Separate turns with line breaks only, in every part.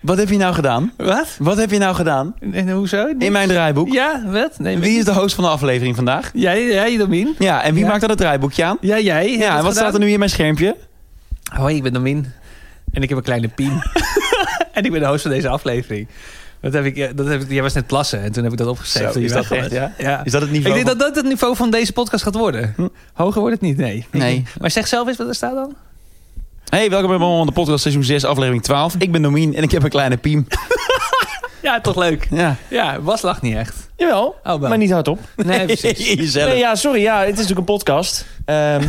Wat heb je nou gedaan?
Wat?
Wat heb je nou gedaan?
En, en hoezo?
In mijn draaiboek.
Ja, wat? Nee,
Wie is de host van de aflevering vandaag?
Jij, jij, Domin.
Ja, en wie
Ja.
maakt dan het draaiboekje aan?
Ja, jij. hebt
Ja, en
het
wat staat er
gedaan.
nu in mijn schermpje?
Hoi, ik ben Domin. En ik heb een kleine piem. en ik ben de host van deze aflevering. Dat heb ik, eh, dat heb ik, jij was net klassen en toen heb ik dat opgeschreven.
Zo,
toen je
is dat
weg was.
echt, ja?
ja.
Is dat het
Ik
niveau?
denk dat dat het niveau van deze podcast gaat worden.
Hm.
Hoger wordt het niet, nee.
Nee.
Maar zeg zelf eens wat er staat dan.
van- Hey, welkom bij Mama van de podcast seizoen 6, aflevering 12. Ik ben Domien en ik heb een kleine piem.
Ja, toch leuk.
Ja.
Ja, Bas lacht niet echt.
Jawel,
Oh, wel.
maar niet hardop.
Nee, precies.
Jezelf.
Nee, ja, sorry, ja, het is natuurlijk een podcast. Ehm,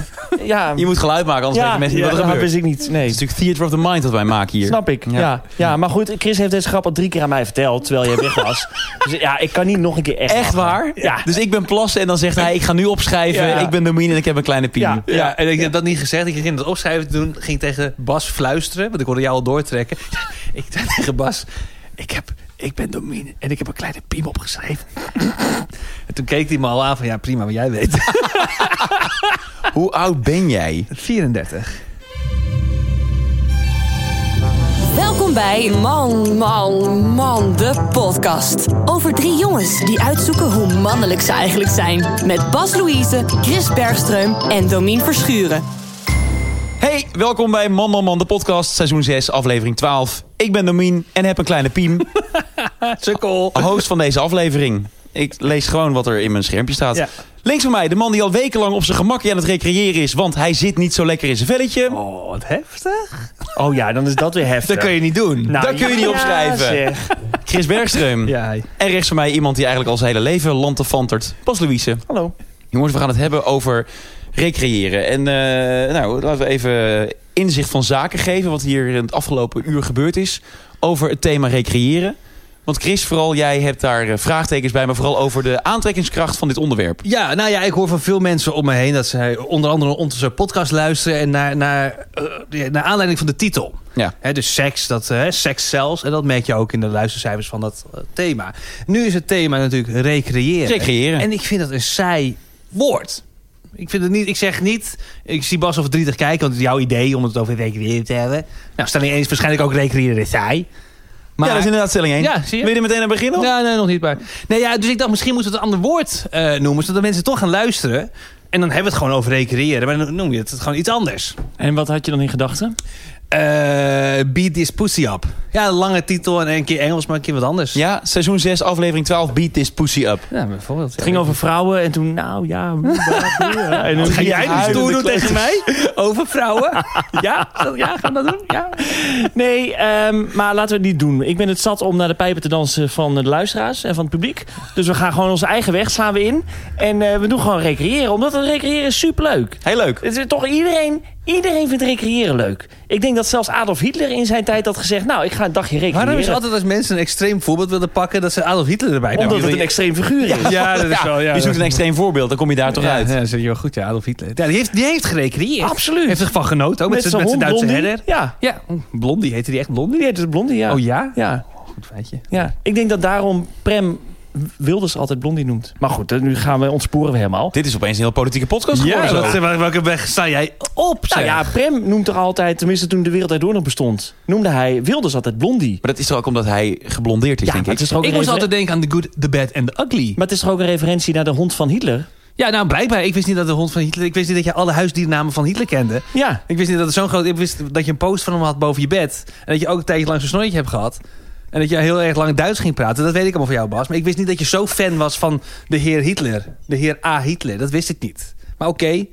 ja,
Je moet geluid maken, anders
ja,
weten mensen niet
ja,
wat er
dat
gebeurt.
wist ik niet.
Het
Nee,
is natuurlijk theater of the mind dat wij maken hier.
snap ik.
Ja.
Ja. Ja. maar goed, Chris heeft deze grap al drie keer aan mij verteld terwijl jij weg was. Dus ja, ik kan niet nog een keer echt.
Echt
lachen.
waar?
Ja.
Dus ik ben plassen en dan zegt hij, ik ga nu opschrijven.
Ja.
Ik ben Domien en ik heb een kleine piem.
Ja.
Ja, en ik heb dat niet gezegd. Ik ging dat opschrijven te doen. Ging tegen Bas fluisteren, want ik hoorde jou al doortrekken. ik zei tegen Bas, ik, heb, ik ben Domine en ik heb een kleine piem opgeschreven. en toen keek hij me al aan van, ja prima, maar jij weet.
Hoe oud ben jij?
34.
Welkom bij Man, Man, Man, de podcast. Over drie jongens die uitzoeken hoe mannelijk ze eigenlijk zijn. Met Bas Louise, Chris Bergström en Domien Verschuren.
Hey, welkom bij Man Man Man, de podcast, seizoen 6, aflevering 12. Ik ben Domien en heb een kleine piem.
Sukkel.
host van deze aflevering. Ik lees gewoon wat er in mijn schermpje staat.
Ja.
Links van mij, de man die al wekenlang op zijn gemakje aan het recreëren is... want hij zit niet zo lekker in zijn velletje.
Oh, wat heftig.
Oh ja, dan is dat weer heftig.
Dat kun je niet doen.
Nou,
dat kun je niet
ja,
opschrijven.
zeg.
Chris Bergström.
Ja.
En rechts van mij iemand die eigenlijk al zijn hele leven lantefantert. Bas Louise.
Hallo.
Jongens, we gaan het hebben over recreëren. En eh, nou, laten we even inzicht van zaken geven... wat hier in het afgelopen uur gebeurd is... over het thema recreëren. Want Chris, vooral jij hebt daar eh, vraagtekens bij... maar vooral over de aantrekkingskracht van dit onderwerp.
Ja, nou ja, ik hoor van veel mensen om me heen dat zij onder andere onze podcast luisteren en naar, naar, eh, ja, naar aanleiding van de titel.
Ja.
Hè, dus seks, dat, eh, seks zelfs. En dat merk je ook in de luistercijfers van dat eh, thema. Nu is het thema natuurlijk recreëren.
Recreëren.
En ik vind dat een saai woord. Ik, vind het niet, ik zeg niet, ik zie Bas of verdrietig kijken, want het is jouw idee om het over recreëren te hebben. Nou, stelling 1 is waarschijnlijk ook recreëren is saai. Maar,
ja, dat is inderdaad stelling 1.
Ja, zie je?
Wil je er meteen aan beginnen?
Ja, nee, nog niet. Maar... Nee, ja, dus ik dacht, misschien moeten we het een ander woord eh, noemen... zodat de mensen toch gaan luisteren. En dan hebben we het gewoon over recreëren. Maar dan noem je het gewoon iets anders.
En wat had je dan in gedachten?
Eh beat this pussy up. Ja, een lange titel en een keer Engels, maar een keer wat anders.
Ja, seizoen 6, aflevering 12, Beat This Pussy Up.
Ja, bijvoorbeeld.
Het ging over vrouwen en toen, nou ja. hoe, wat, hoe, ja. En dan
Ga jij nu
Huilende
stoer doen
kleuters.
tegen mij? Over vrouwen? ja? Ja, gaan we dat doen? Ja.
Nee, ehm, maar laten we het niet doen. Ik ben het zat om naar de pijpen te dansen van de luisteraars en van het publiek. Dus we gaan gewoon onze eigen weg slaan we in. En eh, we doen gewoon recreëren. Omdat het recreëren is superleuk.
Heel leuk.
Het is toch iedereen, iedereen vindt recreëren leuk. Ik denk dat zelfs Adolf Hitler in zijn tijd had gezegd... nou, ik ga een dagje recreëren.
Waarom is het altijd als mensen een extreem voorbeeld willen pakken... dat ze Adolf Hitler erbij
Omdat
pakken?
het een extreem figuur is.
Ja, dat is wel... Ja,
je zoekt een
dat-
extreem voorbeeld, dan kom je daar toch
ja,
uit.
Ja, zeg je wel goed, ja, Adolf Hitler. Ja, die heeft, die heeft gerecreëerd.
Absoluut.
Heeft ervan genoten, ook met, zijn- met zijn Duitse
Blondie.
herder.
Ja,
Ja, oh, Blondie heette die echt Blondie.
die heet dus Blondie, ja.
Oh ja?
ja.
Goed feitje.
ja. Ik denk dat daarom Prem Wilders altijd Blondie noemt. Nou Maar goed, nu gaan we ontsporen we helemaal.
Dit is opeens een heel politieke podcast geworden.
Ja,
zo.
wat, wel- welke weg sta jij op? zeg?
Nou ja, Prem noemt er altijd, tenminste toen de wereld erdoor nog bestond, noemde hij Wilders altijd blondie.
Maar dat is toch ook omdat hij geblondeerd is,
Ja,
denk
maar
ik.
het is toch ook
ik
een
moest
referen-
altijd denken aan The Good, The Bad and The Ugly.
Maar het is toch ook een referentie naar de hond van Hitler?
Ja, nou blijkbaar. Ik wist niet dat de hond van Hitler... Ik wist niet dat je alle huisdiernamen van Hitler kende.
Ja.
Ik wist niet dat het zo'n groot... Ik wist dat je een post van hem had boven je bed. En dat je ook een tijdje lang zo'n snorretje hebt gehad. En dat je heel erg lang Duits ging praten. Dat weet ik allemaal van jou, Bas. Maar ik wist niet dat je zo fan was van de heer Hitler. De heer A. Hitler. Dat wist ik niet. Maar oké,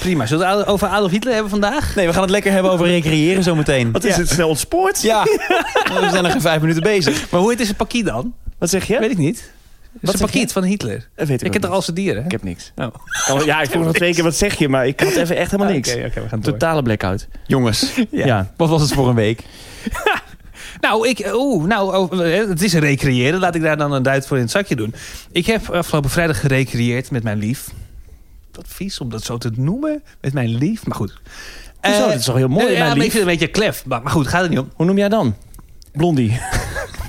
prima. Zullen we het over Adolf Hitler hebben vandaag?
Nee, we gaan het lekker hebben over recreëren zometeen.
Wat is het snel ontspoord?
Ja, we zijn nog geen vijf minuten bezig.
Maar hoe heet zijn pakkie dan?
Wat zeg je?
Weet ik niet.
Wat
Wat
zeg
is
je?
een pakiet van Hitler.
Dat weet
Ik
ik ook
heb
niet.
toch al zijn dieren?
Ik heb niks.
Oh.
Kan- Ja, ik vroeg nog twee keer wat zeg je, maar ik had even echt helemaal niks.
Oké, oké, we gaan door.
Totale blackout.
Jongens,
Ja.
wat was het voor een week?
Nou, ik, oeh, nou oh, eh, het is recreëren. Laat ik daar dan een duit voor in het zakje doen. Ik heb afgelopen vrijdag gerecreëerd met mijn lief. Wat vies om dat zo te noemen. Met mijn lief. Maar goed.
Hoezo?
Eh,
Dat is toch heel mooi,
eh,
mijn
ja, maar ik
lief?
vind het een beetje klef. Maar, maar goed, gaat er niet om.
Hoe noem jij dan? Blondie.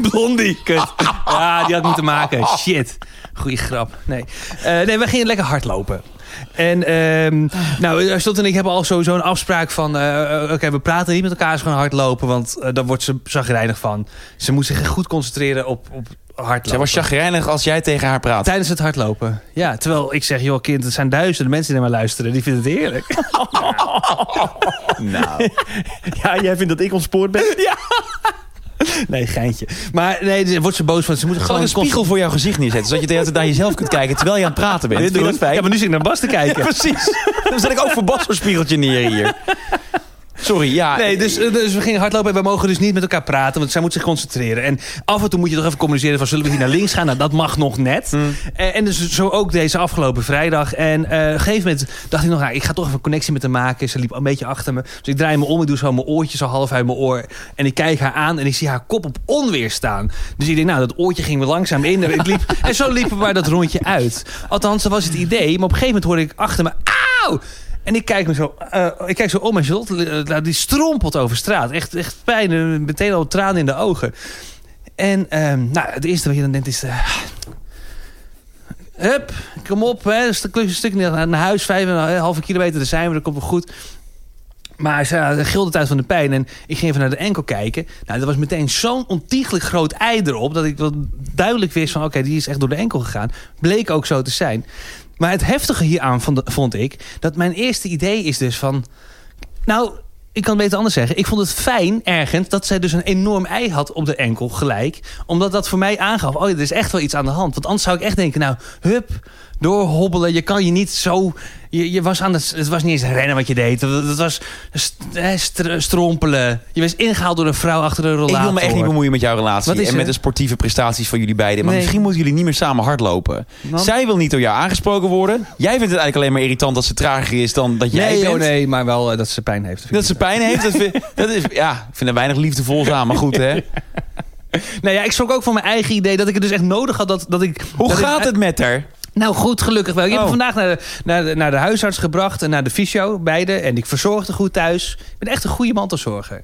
Blondie, kut. Ja, die had moeten maken. Shit. Goeie grap. Nee, Eh, nee we gingen lekker hardlopen. En ehm nou, eh, Stot en ik hebben al sowieso een afspraak van... eh, eh, Oké, we praten niet met elkaar, ze gaan hardlopen. Want eh, daar wordt ze zagrijnig van. Ze moet zich goed concentreren op, op hardlopen.
Zij was chagrijnig als jij tegen haar praat.
Tijdens het hardlopen. Ja, terwijl ik zeg, joh kind, het zijn duizenden mensen die naar mij luisteren. Die vinden het heerlijk.
Nou,
Ja, jij vindt dat ik ontspoord ben?
Nee, geintje. Maar nee, dan wordt ze boos van. Ze moeten
gewoon
gewoon
een spiegel voor jouw gezicht neerzetten. Zodat je de hele tijd naar jezelf kunt kijken terwijl je aan het praten bent.
Dit
Vind je dat
doen.
fijn?
Ja, maar nu zit ik naar Bas te kijken.
precies. Dan zet ik ook voor Bas zo'n spiegeltje neer hier. Sorry, ja.
Nee, dus, eh, dus we gingen hardlopen en we mogen dus niet met elkaar praten, want zij moet zich concentreren. En af en toe moet je toch even communiceren van zullen we hier naar links gaan? Nou, dat mag nog net. Eh, en dus zo ook deze afgelopen vrijdag. En eh, op een gegeven moment dacht ik nog, nou, ik ga toch even een connectie met haar maken. Ze liep een beetje achter me. Dus ik draai me om, ik doe zo mijn oortje zo half uit mijn oor. En ik kijk haar aan en ik zie haar kop op onweer staan. Dus ik denk, nou, dat oortje ging me langzaam in. En, ik liep, en zo liepen we maar dat rondje uit. Althans, dat was het idee. Maar op een gegeven moment hoorde ik achter me, ah, auw! En ik kijk, me zo, eh, ik kijk zo om en Charlotte eh, nou, die strompelt over straat. Echt, echt pijn, en meteen al tranen in de ogen. En ehm, nou, het eerste wat je dan denkt is... eh, hup, kom op, hè, een stuk, een stuk naar naar huis, vijf en een halve kilometer, daar zijn we, dat komt wel goed. Maar ze ja, ze gilde het uit van de pijn en ik ging even naar de enkel kijken. Nou, er was meteen zo'n ontiegelijk groot ei erop... dat ik wel duidelijk wist van, oké, die is echt door de enkel gegaan. Bleek ook zo te zijn. Maar het heftige hieraan vond, vond ik... dat mijn eerste idee is dus van... Nou, ik kan het beter anders zeggen. Ik vond het fijn, ergens, dat zij dus een enorm ei had op de enkel gelijk. Omdat dat voor mij aangaf, oh ja, er is echt wel iets aan de hand. Want anders zou ik echt denken, nou, hup, doorhobbelen. Je kan je niet zo... Je, je was aan het, het was niet eens rennen wat je deed. Het, het was st- eh, str- strompelen. Je was ingehaald door een vrouw achter een rollator.
Ik wil me echt niet bemoeien met jouw relatie.
Wat is
en met
er?
de sportieve prestaties van jullie beiden. Maar
Nee.
misschien moeten jullie niet meer samen hardlopen.
Want-
Zij wil niet door jou aangesproken worden. Jij vindt het eigenlijk alleen maar irritant dat ze trager is dan dat jij
Nee,
bent.
oh nee, maar wel eh, dat ze pijn heeft.
Dat ze pijn heeft. Dat, vind- dat is, ja, ik vind er weinig liefdevol aan. Maar goed, hè.
Nou ja, ik schrok ook van mijn eigen idee dat ik het dus echt nodig had dat, dat ik...
Hoe
dat ik-
gaat het met haar?
Nou goed, gelukkig wel. Ik heb
Oh.
hem vandaag naar de, naar, de, naar de huisarts gebracht en naar de fysio, beide. En ik verzorgde goed thuis. Ik ben echt een goede mantelzorger.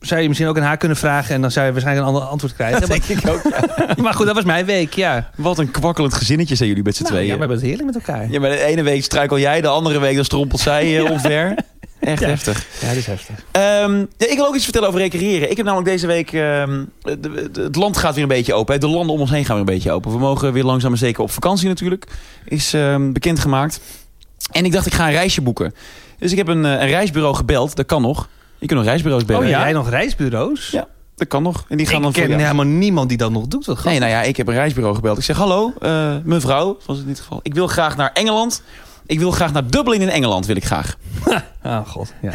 Zou je misschien ook aan haar kunnen vragen en dan zou je waarschijnlijk een ander antwoord krijgen. maar,
ik ook.
maar goed, dat was mijn week, ja.
Wat een kwakkelend gezinnetje zijn jullie met z'n
Nou, ja,
tweeën.
we hebben het heerlijk met elkaar.
Ja, maar de ene week struikel jij, de andere week dan strompelt zij eh, omver. Echt heftig.
Ja, dat is heftig.
Ehm, ja, ik wil ook iets vertellen over recreëren. Ik heb namelijk deze week... ehm, de- de- het land gaat weer een beetje open. Hè. De landen om ons heen gaan weer een beetje open. We mogen weer langzaam en zeker op vakantie natuurlijk. Is ehm, bekendgemaakt. En ik dacht, ik ga een reisje boeken. Dus ik heb een, eh, een reisbureau gebeld. Dat kan nog. Je kunt nog reisbureaus bellen.
Oh ja? Jij nog reisbureaus?
Ja, dat kan nog. En die gaan dan
ik
voor
ken
jou.
helemaal niemand die dat nog doet. Wat
Nee,
grappig.
nou ja, ik heb een reisbureau gebeld. Ik zeg, hallo, eh, mevrouw, was het in dit geval. Ik wil graag naar Engeland. Ik wil graag naar Dublin in Engeland, wil ik graag.
Ah, god. Ja.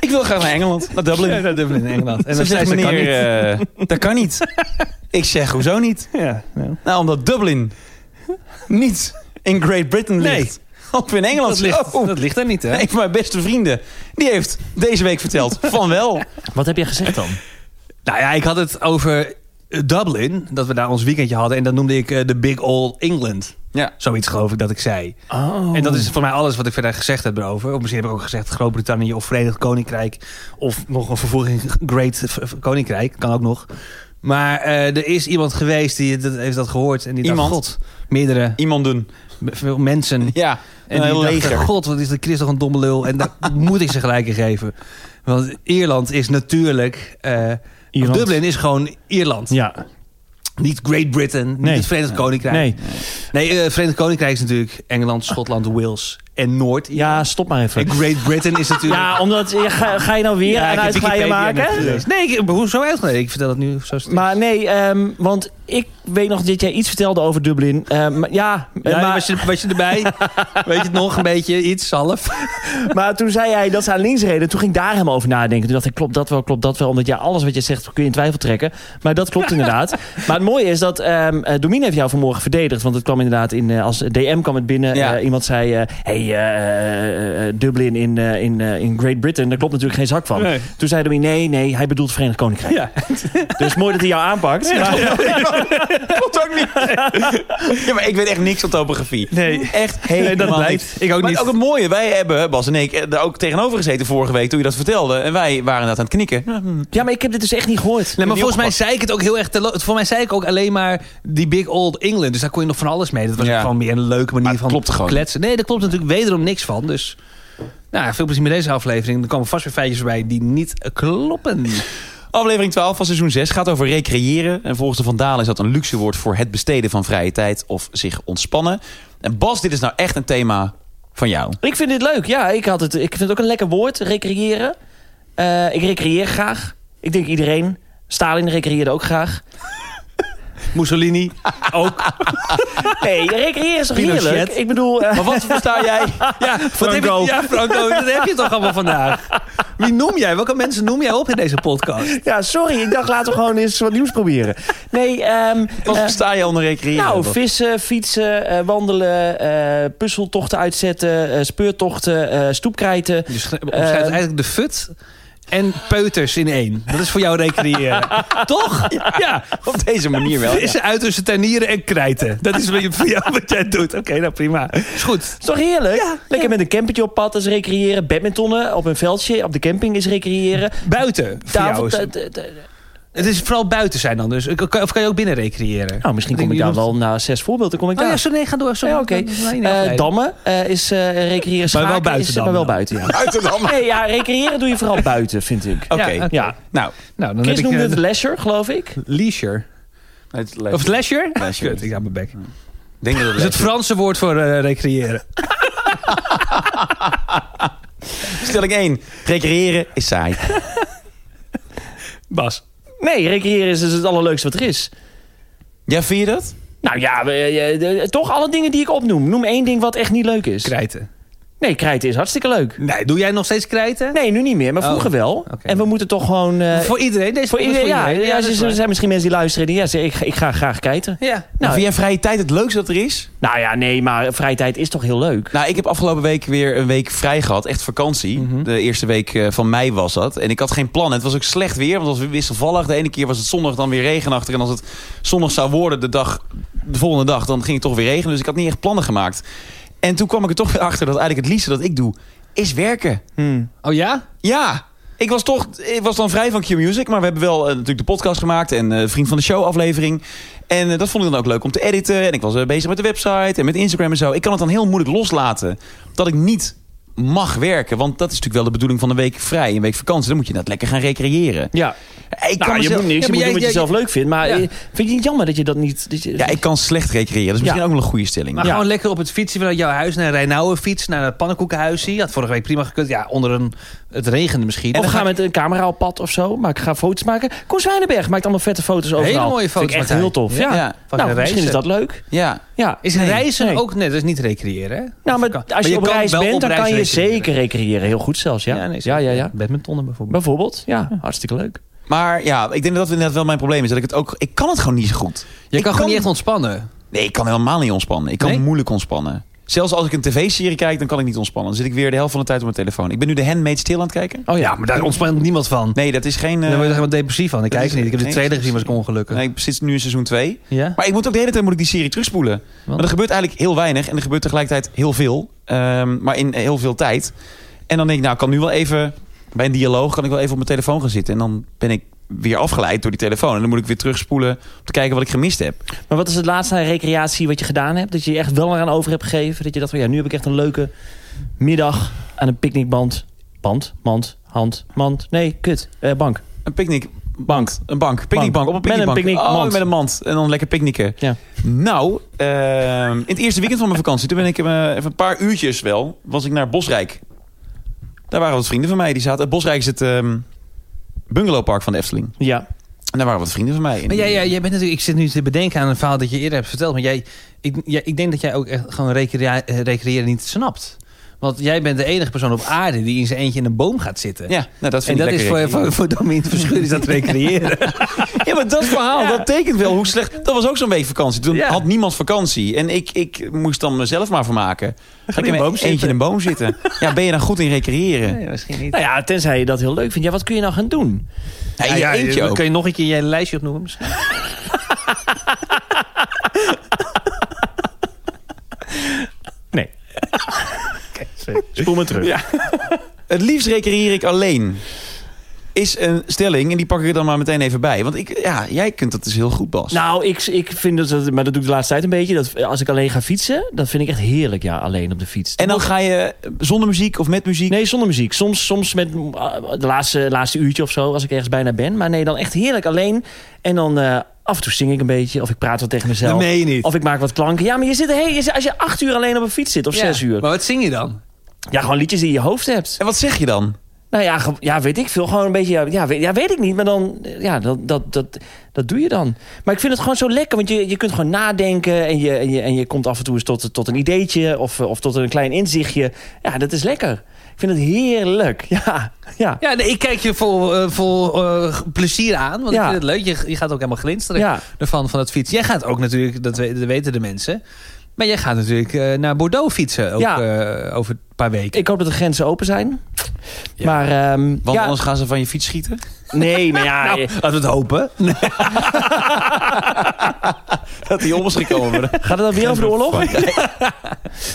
Ik wil graag naar Engeland, naar Dublin.
Ja, naar Dublin in Engeland.
En dan
zei
zegt
ze, kan
meneer,
niet.
eh, dat kan niet. ik zeg, hoezo niet?
Ja, nou.
Nou, omdat Dublin niet in Great Britain
Nee.
ligt. Of in Engeland
dat, ligt,
Oh,
dat ligt er niet, hè?
Een van mijn beste vrienden, die heeft deze week verteld van wel.
Wat heb jij gezegd dan?
Nou ja, ik had het over eh, Dublin, dat we daar ons weekendje hadden. En dat noemde ik eh, de Big All England.
Ja.
Zoiets geloof ik dat ik zei.
Oh.
En dat is voor mij alles wat ik verder gezegd heb erover. Of misschien heb ik ook gezegd Groot-Brittannië of Verenigd Koninkrijk. Of nog een vervolging Great v- v- Koninkrijk. Kan ook nog. Maar eh, er is iemand geweest die dat, heeft dat gehoord. En die
Iemand?
dacht, god, meerdere
Iemand doen.
m- veel mensen.
Ja,
En
een Nou,
die
heel
dachten,
leger.
god, wat is de Christen een domme lul. En daar moet ik ze gelijk in geven. Want Ierland is natuurlijk... eh,
Ierland.
Dublin is gewoon Ierland.
Ja.
Niet Great Britain, niet
Nee.
het Verenigd Koninkrijk.
Nee.
Nee, eh, Verenigd Koninkrijk is natuurlijk Engeland, Schotland, Wales en Noord.
Ja, stop maar even.
En Great Britain is natuurlijk...
Ja, omdat ja, ga, ga je nou weer
Ja, ik
een
heb
uitglijden
Wikipedia
maken?
net gelezen. Nee, ik, hoezo uitgeleid? Ik vertel dat nu zo stil.
Maar nee, ehm, want ik weet nog dat jij iets vertelde over Dublin. Ehm, maar- ja, eh,
Ja, was,
maar,
je, was je erbij? Weet je het nog? Een beetje iets, half.
maar toen zei jij dat ze aan links reden. Toen ging ik daar helemaal over nadenken. Toen dacht ik, klopt dat wel, klopt dat wel. Omdat ja, alles wat je zegt kun je in twijfel trekken. Maar dat klopt inderdaad. Maar het mooie is dat ehm eh, Domine heeft jou vanmorgen verdedigd. Want het kwam inderdaad in, eh, als DM kwam het binnen.
Ja.
Eh, iemand zei, eh, hey, eh, eh, Dublin in, eh, in, eh, in Great Britain. Daar klopt natuurlijk geen zak van.
Nee.
Toen zei Domine, nee, nee, hij bedoelt Verenigd Koninkrijk.
Ja.
Dus mooi dat hij jou aanpakt. Maar-
Klopt ook niet. Ja, maar ik weet echt niks van topografie.
Nee.
Echt
Nee, dat
helemaal
blijkt.
niks.
Ik ook
maar
niet.
ook het mooie, wij hebben, Bas en ik, eh, daar ook tegenover gezeten vorige week toen je dat vertelde. En wij waren dat aan het knikken.
Ja, maar ik heb dit dus echt niet gehoord.
Nee, maar
niet
volgens mij zei ik het ook heel erg... Te voor mij zei ik ook alleen maar die Big Old England. Dus daar kon je nog van alles mee. Dat was
Ja.
ook gewoon meer een leuke manier
Maar het
van
klopt gewoon.
kletsen. Nee, daar klopt natuurlijk wederom niks van. Dus nou, ja, veel plezier met deze aflevering. Er komen vast weer feitjes bij die niet eh, kloppen.
Aflevering 12 van seizoen 6 gaat over recreëren. En volgens de Vandalen is dat een luxe woord voor het besteden van vrije tijd of zich ontspannen. En Bas, dit is nou echt een thema van jou.
Ik vind dit leuk. Ja, ik, had het, ik vind het ook een lekker woord, recreëren. Eh, ik recreëer graag. Ik denk iedereen. Stalin recreëerde ook graag.
Mussolini ook.
Nee, recreëren is toch
Pinochet.
heerlijk? Ik bedoel... eh,
Maar wat versta jij?
Ja, Franco. Heb
Franco.
je, ja, Franco, dat heb je toch allemaal vandaag. Wie noem jij? Welke mensen noem jij op in deze podcast?
ja, sorry. Ik dacht, laten we gewoon eens wat nieuws proberen. Nee, ehm,
Wat
eh,
versta je onder recreëren?
nou,
Bas?
vissen, fietsen, eh, wandelen, eh, puzzeltochten uitzetten, eh, speurtochten, eh, stoepkrijten.
Dus ge-
Eh,
omschrijft eigenlijk de fut en peuters in één. Dat is voor jou recreëren. Toch? Ja.
op deze manier wel. ja.
Vissen uit tussen tuinieren en krijten. Dat is wat je- voor jou wat jij doet. Oké, nou prima. Is goed.
Is toch heerlijk? Lekker met een campertje op pad is recreëren. Badmintonnen op een veldje op de camping is recreëren.
Buiten voor jou.
Tafel,
is-
t- t- t-
Het is vooral buiten zijn dan dus. Ik- kan- Of kan je ook binnen recreëren?
Nou, misschien kom ik
Je
daar
noemt-
wel na zes voorbeelden. Kom ik
Oh
daar.
ja, zo nee, ga door. Sorry.
Ja, oké.
Ik ben- nee, nee,
Eh,
nee.
dammen eh, is eh recreëren
wel
schaken
buiten
is, eh,
dan
maar wel
dan.
buiten. Ja. Nee, ja, recreëren doe je vooral buiten, vind ik.
Oké,
Ja, oké.
Ja.
nou.
Nou, dan Oh, heb
Chris
ik
noemde
eh,
het leisure, geloof ik.
leisure.
Het
Of leisure?
Leisure.
Kut, ik ga mijn bek.
denk dat het
Dat is het Franse woord voor eh, recreëren.
Stelling 1. Recreëren is saai.
Bas.
Nee, recreëren is dus het allerleukste wat er is.
Ja, vind je dat?
Nou ja, we- eh, eh, eh, toch alle dingen die ik opnoem. Noem één ding wat echt niet leuk is.
Krijten.
Nee, krijten is hartstikke leuk.
Nee, doe jij nog steeds krijten?
Nee, nu niet meer, maar
Oh,
vroeger wel.
oké.
En we moeten toch gewoon... eh,
Voor iedereen? Deze
voor
podcast
iedereen, ja, ja,
dat
er
is
zijn- er
waar.
zijn misschien mensen die luisteren en die ja, zeggen, ik, ga- ik ga graag kijten.
Ja.
Nou,
Nou,
vind jij vrije tijd het leukste dat er is?
Nou ja, nee, maar vrije tijd is toch heel leuk?
Nou, ik heb afgelopen week weer een week vrij gehad. Echt vakantie. De eerste week eh, van mei was dat. En ik had geen plan. Het was ook slecht weer, want het was wisselvallig. De ene keer was het zondag, dan weer regenachtig. En als het zondag zou worden de, dag, de volgende dag, dan ging het toch weer regenen. Dus ik had niet echt plannen gemaakt. En toen kwam ik er toch weer achter dat eigenlijk het liefste dat ik doe, is werken.
Oh ja?
Ja, ik was toch, ik was dan vrij van Q-Music, maar we hebben wel eh, natuurlijk de podcast gemaakt en eh, Vriend van de Show aflevering. En eh, dat vond ik dan ook leuk om te editen. En ik was eh, bezig met de website en met Instagram en zo. Ik kan het dan heel moeilijk loslaten dat ik niet mag werken. Want dat is natuurlijk wel de bedoeling van een week vrij, een week vakantie. Dan moet je dat lekker gaan recreëren.
Ja.
Ik kan
Nou, je
mezelf-
moet niks,
Ja, maar
je moet
jij-
doen wat je
jij-
zelf leuk vindt. Maar
Ja.
eh, vind je het niet jammer dat je dat niet... dat je-
Ja, ik kan slecht recreëren. Dat is misschien
Ja.
ook wel een goede stelling.
Maar
Ja.
gewoon lekker op het fietsen vanuit jouw huis naar Rijnauwen fiets, naar het pannenkoekenhuisje. Je had vorige week prima gekund. Ja, onder een... Het regende misschien.
Of
Of
ga met een camera op pad of zo. Maar ik ga foto's maken. Koen Zwijnenberg maakt allemaal vette foto's overal.
mooie
Vind
foto's
ik echt
maakt hij.
heel tof. Ja.
Ja.
Van
Nou,
reizen.
misschien is dat leuk.
ja.
Ja.
Is reizen
Nee.
ook... Nee, dat is niet recreëren, hè?
Nou, maar
Kan-
als
maar
je,
je
op
kan
reis
wel
bent,
op
dan
reis
kan je
recreëren.
zeker recreëren. Heel goed zelfs, ja. Ja,
nee,
ja, ja,
Badmintonnen bijvoorbeeld.
Bijvoorbeeld, ja. Hartstikke leuk.
Maar ja, ik denk dat dat inderdaad wel mijn probleem is. Dat ik het ook, ik kan het gewoon niet zo goed.
Je
Ik
kan gewoon
kan-
niet echt ontspannen.
Nee, ik kan helemaal niet ontspannen. Ik kan
Nee?
moeilijk ontspannen. Zelfs als ik een tv-serie kijk, dan kan ik niet ontspannen. Dan zit ik weer de helft van de tijd op mijn telefoon. Ik ben nu de Handmaid's Tale aan het kijken.
Oh ja.
maar daar ontspant niemand van.
Nee, dat is geen... eh,
Daar word je toch helemaal depressief van. Ik
dat
kijk
is-
niet. Ik heb de
nee,
tweede
dat is-
gezien, was ik ongelukkig.
nee, ik zit nu in seizoen 2.
Ja?
Maar ik moet ook de hele tijd moet ik die serie terugspoelen. Want er gebeurt eigenlijk heel weinig. En er gebeurt tegelijkertijd heel veel. Ehm, maar in heel veel tijd. En dan denk ik, nou, ik kan nu wel even... Bij een dialoog kan ik wel even op mijn telefoon gaan zitten. En dan ben ik weer afgeleid door die telefoon. En dan moet ik weer terugspoelen om te kijken wat ik gemist heb.
Maar wat is het laatste recreatie wat je gedaan hebt? Dat je je echt wel eraan over hebt gegeven? Dat je dacht, van, ja, nu heb ik echt een leuke middag aan een picknickband. Band, mand, hand, mand. Nee, kut. Eh, bank.
Een picknick.
Bank.
Een bank. Picknickbank. Op een
Met een
picknickbank.
picknickmand.
Oh, met een mand. En dan lekker picknicken.
Ja.
Nou, ehm, in het eerste weekend van mijn vakantie... toen ben ik eh, even een paar uurtjes wel... was ik naar Bosrijk. Daar waren wat vrienden van mij. Die zaten... Bosrijk is het ehm, bungalowpark van de Efteling.
Ja.
En daar waren wat vrienden van mij. En
Maar jij,
die-
jij, jij bent natuurlijk, ik zit nu te bedenken aan een verhaal dat je eerder hebt verteld. Maar jij, ik, jij, ik denk dat jij ook echt gewoon recrea- eh, recreëren niet snapt. Want jij bent de enige persoon op aarde die in zijn eentje in een boom gaat zitten.
Ja, nou, dat
en
vind
dat
ik
is
lekker.
voor, voor, voor Domien Verschuur is dat recreëren.
Ja, maar dat verhaal, dat tekent wel hoe slecht... Dat was ook zo'n week vakantie. Toen
Ja.
had niemand vakantie. En ik, ik moest dan mezelf maar vermaken. Ga ik
in
in
een boom
eentje
zitten.
in een boom zitten. Ja, ben je dan goed in recreëren?
Nee, misschien niet.
Nou ja, tenzij je dat heel leuk vindt. Ja, wat kun je nou gaan doen?
Ja, in je eentje ook.
Kun je nog een keer je lijstje opnoemen? misschien?
Nee. Spoel me terug.
Het liefst recreëer ik alleen. Is een stelling en die pak ik er dan maar meteen even bij. Want ik, ja, jij kunt dat dus heel goed, Bas.
Nou, ik, ik vind dat- dat, maar dat doe ik de laatste tijd een beetje. Dat als ik alleen ga fietsen, dat vind ik echt heerlijk, ja, alleen op de fiets.
en dan ga je zonder muziek of met muziek.
Nee, zonder muziek. Soms, soms met ah, de laatste, laatste uurtje of zo, als ik ergens bijna ben. Maar nee, dan echt heerlijk alleen. En dan eh, af en toe zing ik een beetje, of ik praat wat tegen mezelf.
Dat meen je niet.
Of ik maak wat klanken. Ja, maar je zit, hey, je zit- als je acht uur alleen op een fiets zit, of
Ja,
zes uur.
Maar wat zing je dan?
Ja, gewoon liedjes die je in je hoofd hebt.
En wat zeg je dan?
Nou ja, ge- ja, weet ik veel. Gewoon een beetje, ja, weet, ja, weet ik niet. Maar dan, eh, ja, dat, dat, dat, dat doe je dan. Maar ik vind het gewoon zo lekker, want je, je kunt gewoon nadenken. En je, en, je, en je komt af en toe eens tot, tot een ideetje of, eh, of tot een klein inzichtje. Ja, dat is lekker. Ik vind het heerlijk. Ja, ja.
Ja, nee, ik kijk je vol, eh, vol eh, plezier aan. Want
Ja.
ik vind het leuk. Je, je gaat ook helemaal glinsteren
Ja.
ervan, van het fietsen. Jij gaat ook natuurlijk, dat, we- dat weten de mensen. Maar jij gaat natuurlijk eh, naar Bordeaux fietsen. Ook,
Ja.
eh, over een paar weken.
Ik hoop dat de grenzen open zijn.
Ja.
Maar, ehm,
Want
ja,
anders gaan ze van je fiets schieten.
nee, maar ja. eh,
Oh, Laten we het hopen.
Dat die om is gekomen.
Gaat het dan weer over de oorlog?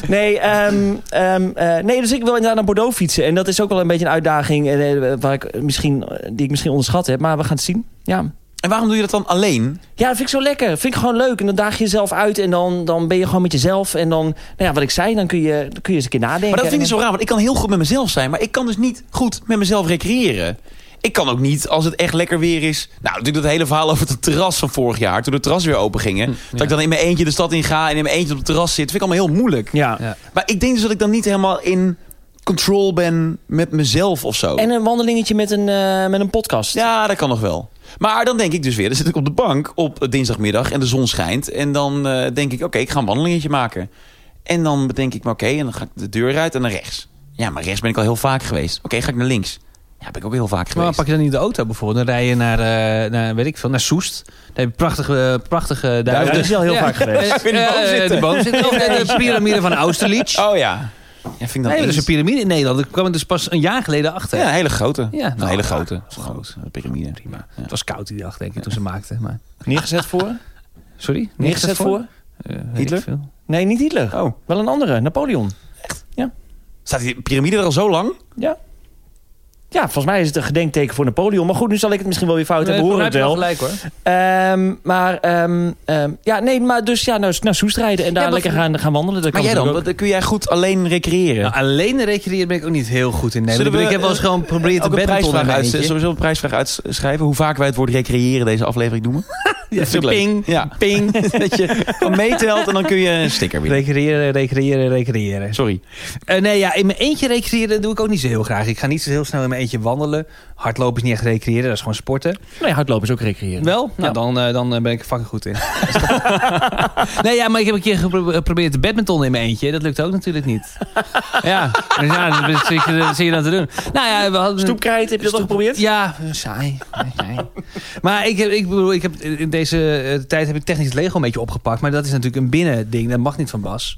Nee, ehm, ehm, eh, nee, dus ik wil inderdaad naar Bordeaux fietsen. En dat is ook wel een beetje een uitdaging eh, eh, waar ik misschien, die ik misschien onderschat heb. Maar we gaan het zien. Ja.
en waarom doe je dat dan alleen?
Ja, dat vind ik zo lekker. Dat vind ik gewoon leuk. En dan daag je jezelf uit en dan, dan ben je gewoon met jezelf. En dan, nou ja, wat ik zei, dan kun je, dan kun je eens een keer nadenken.
Maar dat vind ik zo raar, want ik kan heel goed met mezelf zijn, maar ik kan dus niet goed met mezelf recreëren. Ik kan ook niet, als het echt lekker weer is... Nou, natuurlijk dat hele verhaal over het terras van vorig jaar... toen de terras weer open
Hm,
gingen. Dat ik dan in mijn eentje de stad in ga en in mijn eentje op het terras zit. vind ik allemaal heel moeilijk.
Ja.
Ja.
Maar ik denk dus dat ik dan niet helemaal in control ben met mezelf of zo.
En een wandelingetje met een, eh, met een podcast.
Ja, dat kan nog wel. Maar dan denk ik dus weer, dan zit ik op de bank op dinsdagmiddag en de zon schijnt. En dan eh, denk ik, oké, ik ga een wandelingetje maken. En dan bedenk ik me, oké, en dan ga ik de deur uit en naar rechts. Ja, maar rechts ben ik al heel vaak geweest. Oké, ga ik naar links. Ja, ben ik ook heel vaak
Maar
geweest.
pak je dan niet de auto bijvoorbeeld? Dan rij je naar, eh, naar weet ik veel, naar Soest. Daar heb je prachtige, eh, prachtige
Ja, dat is wel heel vaak geweest.
Even in de boom
Eh,
zitten.
De boom zitten. Of de piramide van Austerlitz.
Oh ja. ja vind ik dan
nee, dat is
eens-
een piramide in Nederland. Ik kwam er dus pas een jaar geleden achter.
Ja, een hele grote.
Ja,
een
nou,
hele grote. Groot. Een piramide. Prima.
Het was koud die dag, denk ik, toen ze maakten. Maar,
Neergezet voor?
sorry?
Neergezet voor?
Eh, weet
Hitler?
ik veel.
Nee, niet Hitler.
Oh.
Wel een andere, Napoleon.
Staat die piramide er al zo lang?
Ja. Ja, volgens mij is het een gedenkteken voor Napoleon. Maar goed, nu zal ik het misschien wel weer fout hebben. We horen
Nee, heb je
het wel.
gelijk hoor.
Ehm, maar ehm, ehm, ja, nee, maar dus ja, nou, naar Soest rijden en daar
Ja, maar-
lekker gaan, gaan wandelen. Dat
Maar
kan
jij dan?
natuurlijk
Wat- Kun jij goed alleen recreëren?
Nou, alleen recreëren ben ik ook niet heel goed in Nederland. Ik bedoel,
we,
ik heb wel eens
eh,
gewoon geprobeerd te
Ook een
bedden tot
prijsvraag
een
uit,
eindje.
sowieso een prijsvraag uitschrijven. Hoe vaak wij het woord recreëren deze aflevering noemen.
Ja,
vind ik leuk.
ping,
Ja.
ping.
Dat je gewoon meetelt en dan kun je een sticker winnen.
Recreëren, recreëren, recreëren.
Sorry.
Eh, nee, ja, in mijn eentje recreëren doe ik ook niet zo heel graag. Ik ga niet zo heel snel in mijn eentje wandelen. Hardlopen is niet echt recreëren, dat is gewoon sporten.
ook. Nee, hardlopen is ook recreëren.
Wel? Nou,
Ja.
dan, eh, dan eh, ben ik er fucking goed in. nee, ja, maar ik heb een keer gepro- eh, geprobeerd te badminton in mijn eentje. Dat lukt ook natuurlijk niet. ja, dus ja dat zit je, dat zit je dan te doen. Nou ja, we hadden...
Stoepkrijt, heb je dat al geprobeerd?
Ja, eh, saai. saai. maar ik, heb, ik bedoel, ik heb in deze eh, tijd heb ik technisch Lego een beetje opgepakt. Maar dat is natuurlijk een binnending. Dat mag niet van Bas.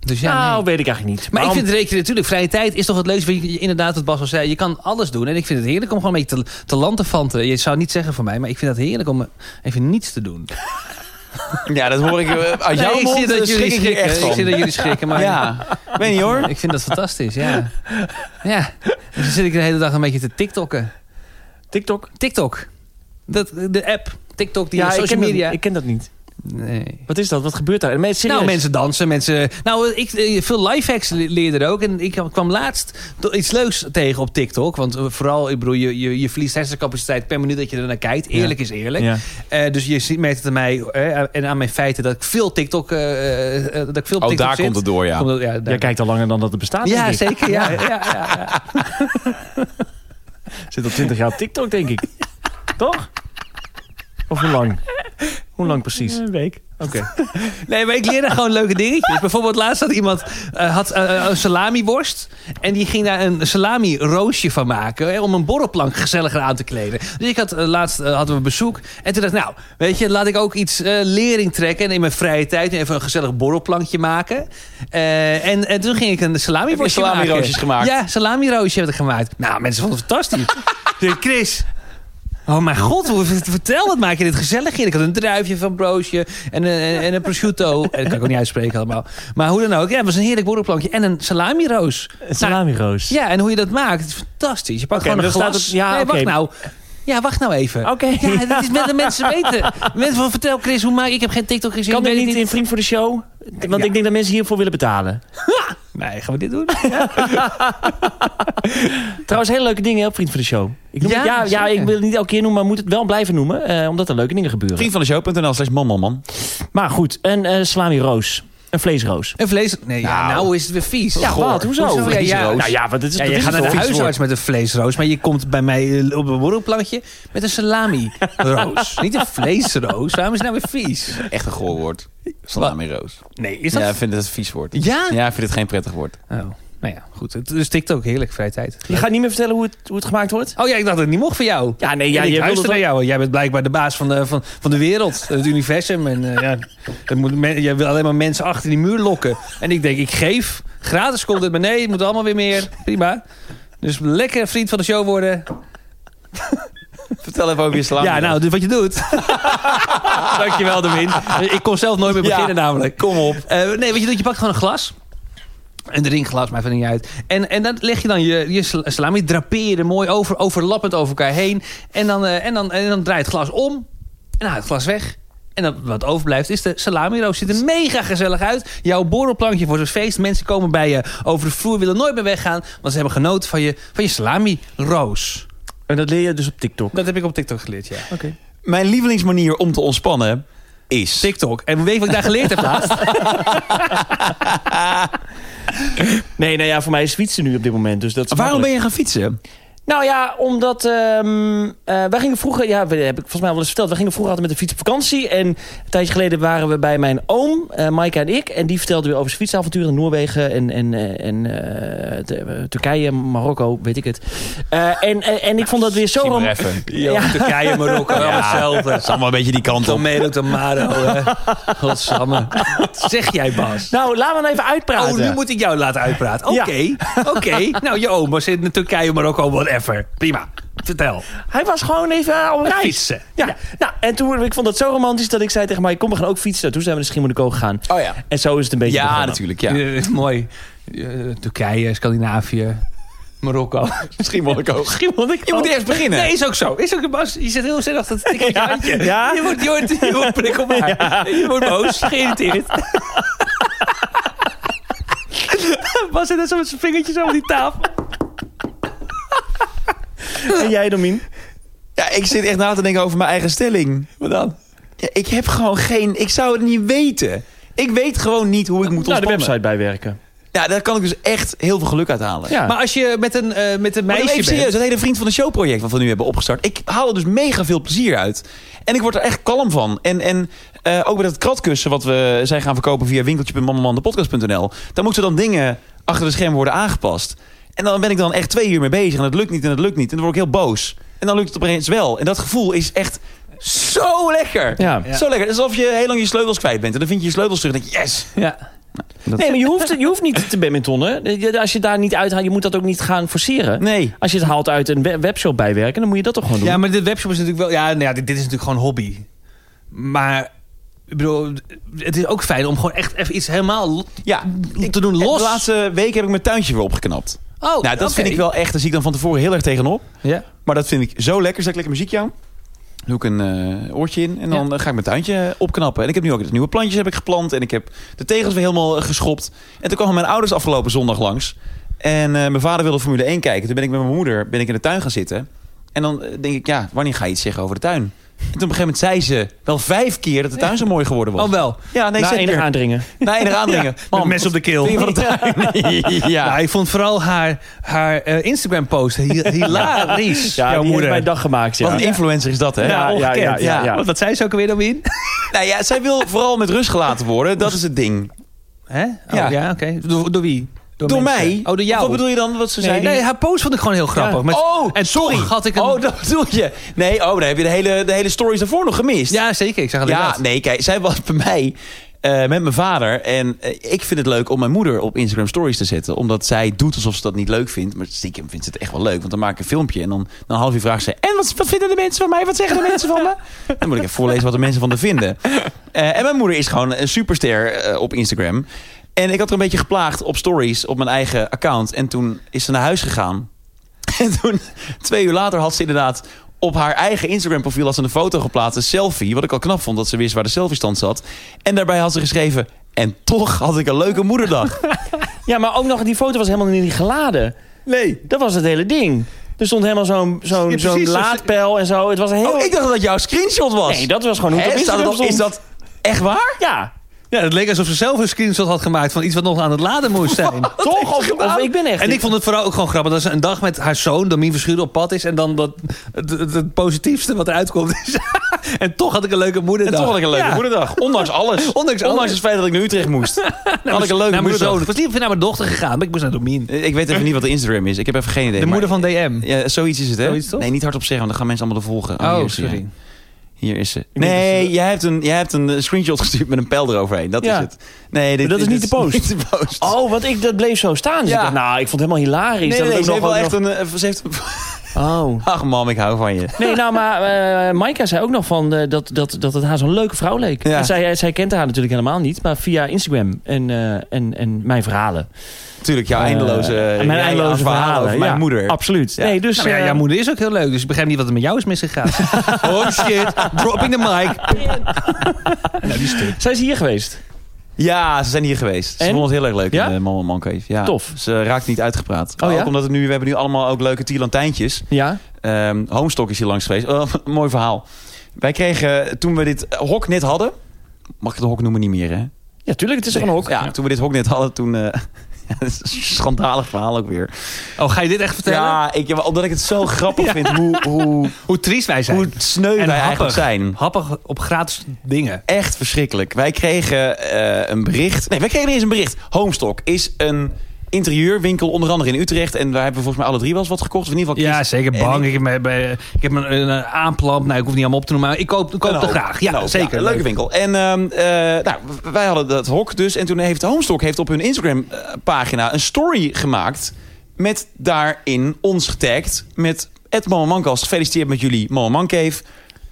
Dus ja, nee.
nou, weet ik eigenlijk niet.
Maar ik
Waarom-
vind het rekenen natuurlijk, vrije tijd is toch het leukste. Want je- Inderdaad, wat Bas al zei, je kan alles doen. En ik vind het heerlijk om gewoon een beetje te, te lantefanten. Je zou het niet zeggen voor mij, maar ik vind het heerlijk om even niets te doen.
Ja, dat hoor ik eh, uit jouw
Nee, ik
mond.
zie dat jullie
schrik ik hier
schrikken.
echt
Ik zie
van.
dat jullie schrikken, maar
Ja, weet niet hoor.
ik vind dat fantastisch, ja. Ja, dus dan zit ik de hele dag een beetje te tiktokken.
TikTok?
TikTok, dat, de app. TikTok, die
ja, ik
social
ken,
media.
Dat, ik ken dat niet.
nee.
Wat is dat? Wat gebeurt daar? Mensen, serieus?
Nou, mensen dansen, mensen... Nou, ik, eh, veel lifehacks le- leer er ook. En ik kwam laatst do- iets leuks tegen op TikTok. Want eh, vooral, ik bedoel, je, je, je verliest hersencapaciteit per minuut dat je ernaar kijkt. Eerlijk is eerlijk.
Ja.
Eh, dus je ziet- merkt het aan mij eh, en aan mijn feiten dat ik veel TikTok... eh, eh, dat ik veel op
Oh,
TikTok
daar
zit.
komt het door, ja.
Komt het- ja, daar-
Jij kijkt al langer dan dat het bestaat.
ja,
denk ik.
zeker. Ja, ja, ja, ja.
Zit al 20 jaar op TikTok, denk ik. Toch? Of hoe lang? Hoe lang precies? Een week. Oké.
Nee, maar ik leer daar gewoon leuke dingetjes. Bijvoorbeeld laatst had iemand eh, had, eh, een salamiworst. En die ging daar een salami roosje van maken. Hè, om een borrelplank gezelliger aan te kleden. Dus ik had eh, laatst eh, hadden we bezoek. En toen dacht ik, nou, weet je, laat ik ook iets eh, lering trekken. En in mijn vrije tijd even een gezellig borrelplankje maken. Eh, en, en toen ging ik een salami worstje
Heb je
maken.
salamiroosjes gemaakt?
Ja, salami roosje heb ik gemaakt. Nou, mensen vonden het fantastisch. De Chris. Oh mijn god, hoe- vertel wat maak je dit gezellig in? Ik had een druifje van broodje en een, en- en een prosciutto. En dat kan ik ook niet uitspreken allemaal. Maar hoe dan ook, ja, het was een heerlijk borrelplankje en een salami-roos.
Salami-roos.
Ja, en hoe je dat maakt, is fantastisch. Je pakt
Oké,
gewoon een
maar dan
glas.
staat het- ja,
nee,
oké. Oh.
wacht nou. Ja, wacht nou even.
Oké.
Ja, dat is met de mensen weten. Mensen van, vertel Chris, hoe maak ik heb geen TikTok gezien.
Kan
ik
dit
weet
niet
het
in Vriend voor de Show? Want
Ja.
ik denk dat mensen hiervoor willen betalen.
Nee, gaan we dit doen?
Trouwens, hele leuke dingen hè, op Vriend voor de Show. Ik noem
Ja,
het- ja, ja,
zeker.
ik wil het niet elke keer noemen, maar moet het wel blijven noemen. eh, omdat er leuke dingen gebeuren.
Vriend van de show.nl slash man, man, man.
Maar goed, een eh, salami-roos. Een vleesroos.
Een vlees... Nee, ja,
Nou.
nou is het weer vies.
Ja,
Goor.
wat? Hoezo?
Ja, ja.
Vleesroos.
Nou ja, want het is,
Ja,
dat
je
is
gaat naar
het
de
wel.
huisarts met een vleesroos, maar je komt bij mij eh, op een borrelplankje met een salami-roos. Niet een vleesroos, waarom is het nou weer vies?
Echt een goor woord. Salami Roos.
Nee, is dat...
Ja, ik vind het een vies woord.
Ja?
Ja, ik vind het geen prettig woord.
Oh, nou ja, goed. Het is TikTok, heerlijk, vrije tijd.
Je gaat niet meer vertellen hoe het, hoe het gemaakt wordt?
Oh ja, ik dacht dat het niet mocht van jou.
Ja, nee, ja,
En ik
je wilde
luister naar
het
jou. Jij bent blijkbaar de baas van de, van, van de wereld, het universum. En eh, ja, dat moet, men- jij wil alleen maar mensen achter die muur lokken. En ik denk, ik geef. Gratis komt het, maar nee, het moet allemaal weer meer. Prima. Dus lekker vriend van de show worden.
Vertel even over je salami.
ja, nou, dus wat je doet. Dankjewel, Domin. Ik kon zelf nooit meer
Ja,
beginnen namelijk. Kom op. nee, wat je doet, je pakt gewoon een glas. Een drinkglas, maar van niet uit. En, en dan leg je dan je, je sla- salami draperen, mooi over, overlappend over elkaar heen. En dan, eh, en dan, en dan draai je het glas om. En dan haal het glas weg. En dan, wat overblijft is de salami-roos. Ziet er mega gezellig uit. Jouw borrelplankje voor zo'n feest. Mensen komen bij je over de vloer, willen nooit meer weggaan. Want ze hebben genoten van je, van je salami-roos.
En dat leer je dus op TikTok.
Dat heb ik op TikTok geleerd, ja.
nou, Mijn lievelingsmanier om te ontspannen is...
TikTok. En weet je wat ik daar geleerd heb laatst?
Nee, nou ja, voor mij is fietsen nu op dit moment. Dus dat is
Waarom ben
makkelijk.
je gaan fietsen?
Nou ja, omdat ehm, eh, wij gingen vroeger, ja, we- heb ik volgens mij wel eens verteld, wij gingen vroeger altijd met de fiets op vakantie. En een tijdje geleden waren we bij mijn oom, eh Maaike en ik. En die vertelde weer over zijn fietsavonturen in Noorwegen en, en, eh, en eh, de- eh, Turkije, Marokko, weet ik het. Eh, en, en, en ik vond dat weer zo...
Zie maar
rom-
even.
Ja.
Turkije, Marokko, allemaal hetzelfde.
Het is allemaal een beetje die kant op.
Tomero, Tamaro. hè. Godsamme. Wat zeg jij, Bas?
Nou, laten we nou even uitpraten.
Oh, nu moet ik jou laten uitpraten. Oké, oké. Nou, je oma zit in Turkije, Marokko, whatever. Prima. Vertel.
Hij was gewoon even eh, op reis.
Fietsen.
Ja. nou, en toen, ik vond dat zo romantisch dat ik zei tegen mij, kom we gaan ook fietsen. Nou, Toen zijn we naar Schiermonnikoog gegaan.
Oh ja.
En zo is het een beetje
Ja,
begonnen.
natuurlijk. Ja.
Eh, mooi. Eh, Turkije, Scandinavië, Marokko.
Misschien wil ik ook. Oh.
Schiermonnikoog.
Je moet eerst beginnen.
Nee, is ook zo. Is ook, Bas, je zit heel zinnig dat het tikkeltje
Ja,
aan je.
ja.
Je wordt, je wordt, je wordt prikkelbaar. Je wordt boos, geïrriteerd. Bas zit net zo met zijn vingertjes over die tafel.
En jij, Domien?
Ja, ik zit echt na te denken over mijn eigen stelling. Wat dan? Ja, ik heb gewoon geen... Ik zou het niet weten. Ik weet gewoon niet hoe ik moet
Nou, de
ontspannen.
website bijwerken.
ja, daar kan ik dus echt heel veel geluk uit halen.
Ja.
Maar als je met een, eh, met een
Maar
meisje
even
bent...
serieus, dat hele vriend van de show project wat we nu hebben opgestart. Ik haal er dus mega veel plezier uit. En ik word er echt kalm van. En, en eh, ook bij dat kratkussen wat we eh, zijn gaan verkopen via winkeltje.mamamandepodcast.nl. Daar moeten dan dingen achter de schermen worden aangepast. En dan ben ik dan echt twee uur mee bezig. En het lukt niet en het lukt niet. En dan word ik heel boos. En dan lukt het opeens wel. En dat gevoel is echt zo lekker.
Ja.
Ja.
Zo lekker. Het is Alsof je heel lang je sleutels kwijt bent. En dan vind je je sleutels terug en denk je yes.
Ja.
Nee, maar je hoeft, je hoeft niet te badmintonnen. Je- Als je daar niet uithaalt, je moet dat ook niet gaan forceren.
Nee.
Als je het haalt uit een we- webshop bijwerken, dan moet je dat toch gewoon doen.
ja, maar dit webshop is natuurlijk wel... Ja, nou ja dit, dit is natuurlijk gewoon hobby. Maar... Ik bedoel, het is ook fijn om gewoon echt even iets helemaal lo-
Ja.
te doen los.
De laatste week heb ik mijn tuintje weer opgeknapt.
Oh,
nou, dat
oké.
vind ik wel echt. Daar zie ik dan van tevoren heel erg tegenop.
Ja.
Maar dat vind ik zo lekker. Zet ik lekker muziekje aan. Doe ik een eh, oortje in en dan eh, ga ik mijn tuintje opknappen. En ik heb nu ook de nieuwe plantjes heb ik geplant. En ik heb de tegels weer helemaal eh, geschopt. En toen kwamen mijn ouders afgelopen zondag langs. En eh, mijn vader wilde Formule 1 kijken. Toen ben ik met mijn moeder ben ik in de tuin gaan zitten. En dan eh, denk ik, ja, wanneer ga je iets zeggen over de tuin? En toen op een gegeven moment zei ze wel vijf keer dat de tuin zo mooi geworden was.
Oh, wel.
Ja, nee,
Na
zeker.
enig aandringen.
Na enig aandringen.
Met
Man,
mes op de keel.
dingen van de tuin. ja.
Nou, ik vond vooral haar, haar eh, Instagram-post hi- hilarisch.
Ja,
Jouw
die heeft
moeder.
mijn dag gemaakt. Ja.
Wat een influencer is dat, hè?
Ja, ja,
ongekend.
ja, ja, ja.
Want wat zei ze ook alweer dan in?
Nou ja, zij wil vooral met rust gelaten worden. Dat is het ding.
Hè?
Ja.
ja, ja oké. Door, door wie?
Door,
mensen.
mij?
Oh, door jou.
Wat bedoel je dan? Wat ze
nee,
zei?
nee, haar post vond ik gewoon heel grappig. Met-
oh,
en
sorry.
toch had ik een...
Oh, dat bedoel je. Nee, oh, dan heb je de hele, de hele stories daarvoor nog gemist.
Ja, zeker. Ik zag alleen
Ja,
dat.
nee, kijk, zij was bij mij... eh, eh, met mijn vader. En eh, ik vind het leuk om mijn moeder op Instagram Stories te zetten. Omdat zij doet alsof ze dat niet leuk vindt. Maar stiekem vindt ze het echt wel leuk. Want dan maak ik een filmpje. En dan na een half uur vraagt ze... En wat, wat vinden de mensen van mij? Wat zeggen de mensen van me? Dan moet ik even voorlezen wat de mensen van haar vinden. Eh, en mijn moeder is gewoon een superster eh, op Instagram. En ik had er een beetje geplaagd op stories op mijn eigen account. En toen is ze naar huis gegaan. En toen, twee uur later, had ze inderdaad op haar eigen Instagram-profiel had ze een foto geplaatst, een selfie. Wat ik al knap vond, dat ze wist waar de selfie-stand zat. En daarbij had ze geschreven. En toch had ik een leuke moederdag.
Ja, maar ook nog, die foto was helemaal niet geladen.
Nee. dus-
Dat was het hele ding. Er stond helemaal zo'n zo'n
Ja,
zo'n
precies, zoals-
laadpijl en zo. Het was een heel...
Oh, ik dacht dat dat jouw screenshot was.
Nee, dat was gewoon hoe het
Hè,
op
staat het
Instagram
op-
stond.
Is dat echt waar?
Ja,
Ja, het leek alsof ze zelf een screenshot had gemaakt van iets wat nog aan het laden moest zijn.
toch? Of, of ik ben echt...
En Oh, ik vond het vooral ook gewoon grappig dat ze een dag met haar zoon, Domien Verschuren, op pad is. En dan dat, het, het- het positiefste wat eruit komt is. en toch had ik een leuke
En
moederdag.
toch had ik een leuke
Ja.
moederdag. Ondanks alles.
Ondanks alles.
het feit dat ik naar Utrecht moest. had ik een leuke
naar mijn zoon.
moederdag.
Ik was liever naar mijn dochter gegaan, maar ik moest naar Domien.
Ik weet even niet wat de Instagram is. Ik heb even geen idee.
De
maar-
moeder van DM.
Ja, zoiets is het, hè?
Zoiets, toch?
Nee, niet hardop zeggen, want dan gaan mensen allemaal de volgen. hier
Oh,
is ze, ja.
sorry.
Hier is ze.
moet
Nee,
dus-
jij hebt, een, jij hebt een eh, screenshot gestuurd met een pijl eroverheen. Dat
Ja.
is het. Nee, dit,
Maar dat is
dit
niet de post.
niet de post.
Oh, want ik, dat bleef zo staan. Dus
Ja.
ik dacht, nou, ik vond het helemaal hilarisch.
nee,
dat
nee,
het
ze
ook
heeft
nog,
wel echt
ook
een... eh, Ze heeft,
nog- Oh.
ach mam, ik hou van je.
Nee, nou, maar eh Maika zei ook nog van eh, dat, dat, dat het haar zo'n leuke vrouw leek.
Ja.
En zij, eh, zij kent haar natuurlijk helemaal niet, maar via Instagram en, eh, en, en mijn verhalen.
Tuurlijk, jouw eindeloze,
Eh,
eh,
mijn
jij-
eindeloze
verhalen
verhalen.
over mijn
ja,
moeder.
Absoluut. Nee, dus,
Nou, maar ja,
eh,
jouw moeder is ook heel leuk, dus ik begrijp niet wat er met jou is misgegaan. oh shit, dropping the mic.
Zij is hier geweest.
Ja, ze zijn hier geweest. Ze
En?
vonden het heel erg leuk
Ja?
in de Mama Man Cave. Ja.
Tof.
Ze raakt niet uitgepraat.
Oh,
ook
ja?
omdat het nu, we hebben nu allemaal ook leuke tierlantijntjes.
Ja.
Ehm Homestock is hier langs geweest. Oh, mooi verhaal. Wij kregen, toen we dit hok net hadden... Mag ik het hok noemen niet meer, hè?
Ja, tuurlijk, het is toch een hok.
Ja, toen we dit hok net hadden, toen... eh, ja, dat is een schandalig verhaal ook weer.
Oh, ga je dit echt vertellen?
Ja, ik, ja, maar omdat ik het zo grappig vind hoe, hoe,
Hoe triest wij zijn.
hoe sneu wij
happig.
eigenlijk zijn.
Happig op gratis dingen.
Echt verschrikkelijk. Wij kregen eh, een bericht. Nee, wij kregen niet eens een bericht. Homestock is een interieurwinkel, onder andere in Utrecht. En daar hebben we volgens mij alle drie wel eens wat gekocht. Of in ieder geval
Ja,
Chris
zeker
en
bang.
ik.
Ik heb, me- bij- ik heb een, een, een aanplant. Nou, ik hoef niet allemaal op te noemen, maar ik koop, ik koop
Een
toch
hoop.
graag. Ja,
Een hoop.
zeker.
een leuke winkel. En ehm, eh, nou, w- wij hadden dat hok dus. En toen heeft Homestock heeft op hun Instagram-pagina een story gemaakt. Met daarin ons getagd. Met het Mama Mancast. Gefeliciteerd met jullie Mama Man Cave.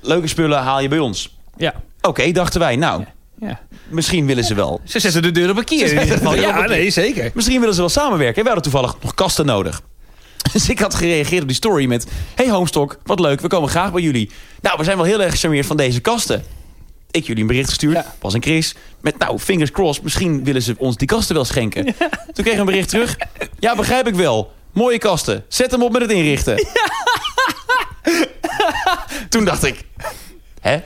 Leuke spullen haal je bij ons.
Ja.
Oké, dachten wij. Nou,
ja.
misschien willen ze wel.
Ze zetten de deur op een kier. in ieder geval. Ja, nee, zeker.
Misschien willen ze wel samenwerken. En wij hadden toevallig nog kasten nodig. Dus ik had gereageerd op die story met... Hey Homestock, wat leuk, we komen graag bij jullie. Nou, we zijn wel heel erg gecharmeerd van deze kasten. Ik jullie een bericht gestuurd,
Ja.
Bas en Chris. Met nou, fingers crossed, misschien willen ze ons die kasten wel schenken. Toen kregen we een bericht terug. Ja, begrijp ik wel. Mooie kasten. Zet hem op met het inrichten. Toen dacht ik... Hè?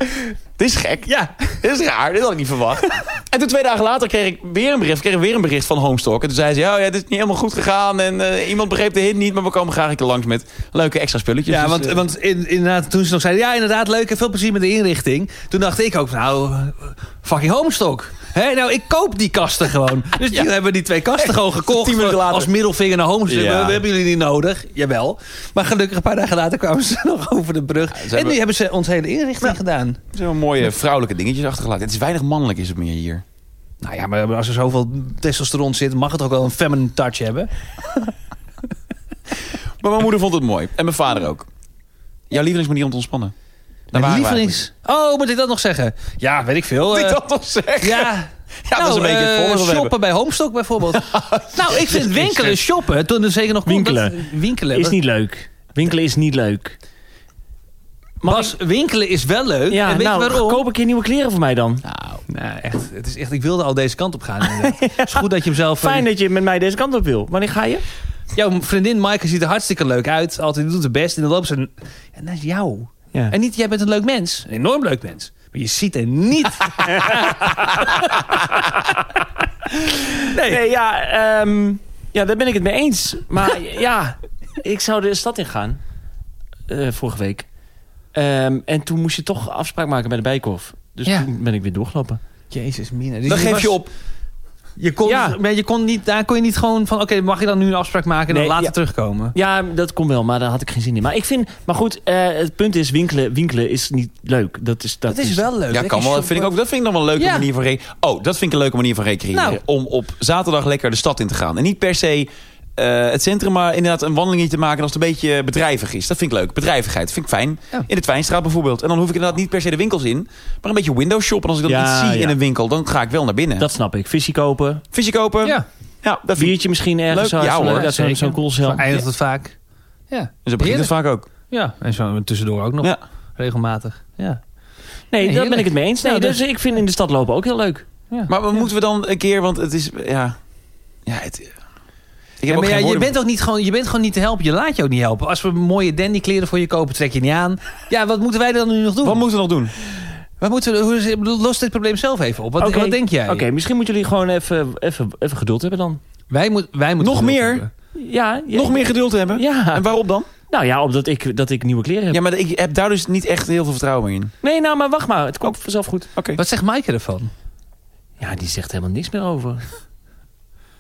Dit is gek.
Ja.
Dit is raar, dit had ik niet verwacht. En toen twee dagen later kreeg ik weer een bericht, kreeg ik weer een bericht van Homestock. En toen zei ze, oh ja, ja, dit is niet helemaal goed gegaan. En eh, iemand begreep de hint niet, maar we komen graag een keer langs met leuke extra spulletjes.
Ja,
Dus,
want,
eh,
want in, inderdaad, toen ze nog zeiden... Ja, inderdaad, leuk en veel plezier met de inrichting. Toen dacht ik ook, nou, fucking homestock. Hè? Nou, ik koop die kasten gewoon. Dus die
Ja.
hebben die twee kasten gewoon gekocht.
Tien minuten
voor-
later.
Als middelvinger naar homestock.
Ja.
We, we hebben jullie niet nodig. Jawel. Maar gelukkig, een paar dagen later kwamen ze nog over de brug. en
hebben-
nu hebben ze ons hele inrichting gedaan.
er zijn wel mooie vrouwelijke dingetjes achtergelaten. Het is weinig mannelijk is het meer hier.
Nou ja, maar als er zoveel testosteron zit... mag het ook wel een feminine touch hebben.
Maar mijn moeder vond het mooi. En mijn vader ook. Jouw lievelingsmanier om te ontspannen. Daar
Mijn
waren we
lievelings... Oh, moet ik dat nog zeggen? Ja, weet ik veel.
eigenlijk.
eh,
Moet ik dat nog zeggen?
Ja.
Ja, dat is een beetje het
eh,
voorbeeld
Shoppen
hebben.
bij Homestock bijvoorbeeld. nou, ik vind winkelen, shoppen, toen er zeker nog komt,
Winkelen.
dat- winkelen.
Is niet leuk. Winkelen is niet leuk.
Bas, winkelen is wel leuk.
Ja,
en weet
nou,
je waarom?
koop een keer nieuwe kleren voor mij dan.
Nou, nou echt, het is echt, ik wilde al deze kant op gaan. inderdaad. Het is goed dat je hem zelf... eh,
Fijn dat je met mij deze kant op wil. Wanneer ga je?
Jouw vriendin Maaike ziet er hartstikke leuk uit. Altijd die doet het best. En dan loopt ze en, en dat is jou.
Ja.
En niet, jij bent een leuk mens. Een enorm leuk mens. Maar je ziet er niet.
Nee, ja, ehm, ja, daar ben ik het mee eens. Maar ja, ik zou de stad in gaan. eh, vorige week. Ehm, en toen moest je toch afspraak maken bij de Bijkorf. Dus
Ja.
toen ben ik weer doorgelopen.
Jezus, Mina. Dus
Dan
je
geef je
was-
op.
Je kon,
Ja.
maar je kon niet, daar kon je niet gewoon van... Oké, mag je dan nu een afspraak maken en
Nee,
dan later
ja.
terugkomen?
Ja, dat kon wel, maar daar had ik geen zin in. Maar ik vind, maar goed, eh, het punt is, winkelen, winkelen is niet leuk. Dat is, dat is
wel leuk.
Ja, kan wel. Vind ik ook, dat vind ik dan wel een leuke
eh, Ja.
manier van re- Oh, dat vind ik een leuke manier van recreëren.
Nou.
Om op zaterdag lekker de stad in te gaan. En niet per se eh, het centrum, maar inderdaad een wandelingetje te maken als het een beetje bedrijvig is. Dat vind ik leuk. Bedrijvigheid vind ik fijn.
Ja.
In de Twijnstraat bijvoorbeeld. En dan hoef ik inderdaad niet per se de winkels in, maar een beetje window shoppen. En als ik dat
Ja,
niet zie
ja.
in een winkel, dan ga ik wel naar binnen.
Dat snap ik. Visie kopen,
Visje kopen. Ja,
Ja,
dat vind ik.
biertje misschien ergens.
Leuk.
zo,
Ja,
zo-
hoor.
dat is zo'n-
Zeker.
Zo'n koelcel.
Zo eindigt het vaak. Ja.
Dus dat begint het vaak ook.
Ja, en zo tussendoor ook nog.
Ja.
Regelmatig. Ja.
Nee,
Nee,
daar ben ik
heerlijk.
het mee eens. Nee,
Ja,
dus ik vind in de stad lopen ook heel leuk.
Maar we- moeten we dan een keer, want het is, ja... Ja, het, ik heb
Ja,
ook
maar ja,
geen
je
woorden.
bent ook niet gewoon, je bent gewoon niet te helpen. Je laat je ook niet helpen. Als we mooie dandy kleren voor je kopen, trek je niet aan. Ja, wat moeten wij dan nu nog doen?
Wat moeten we nog doen?
Wat moeten we, hoe is- ik bedoel, los dit probleem zelf even op. Wat,
Oké.
wat denk jij?
Oké, misschien moeten jullie gewoon even, even, even geduld hebben dan.
Wij, moet, wij moeten
Nog
geduld
meer?
hebben.
Ja. je-
Nog meer geduld hebben?
Ja.
En waarom dan?
Nou ja, omdat ik, dat ik nieuwe kleren heb.
Ja, maar ik heb daar dus niet echt heel veel vertrouwen in.
Nee, nou, maar wacht maar. Het
Oh.
komt vanzelf goed.
Oké.
Wat zegt Maaike ervan?
Ja, die zegt helemaal niks meer over.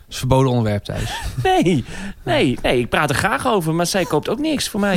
Dat is verboden onderwerp thuis.
Nee, nee, nee. Ik praat er graag over, maar zij koopt ook niks voor mij.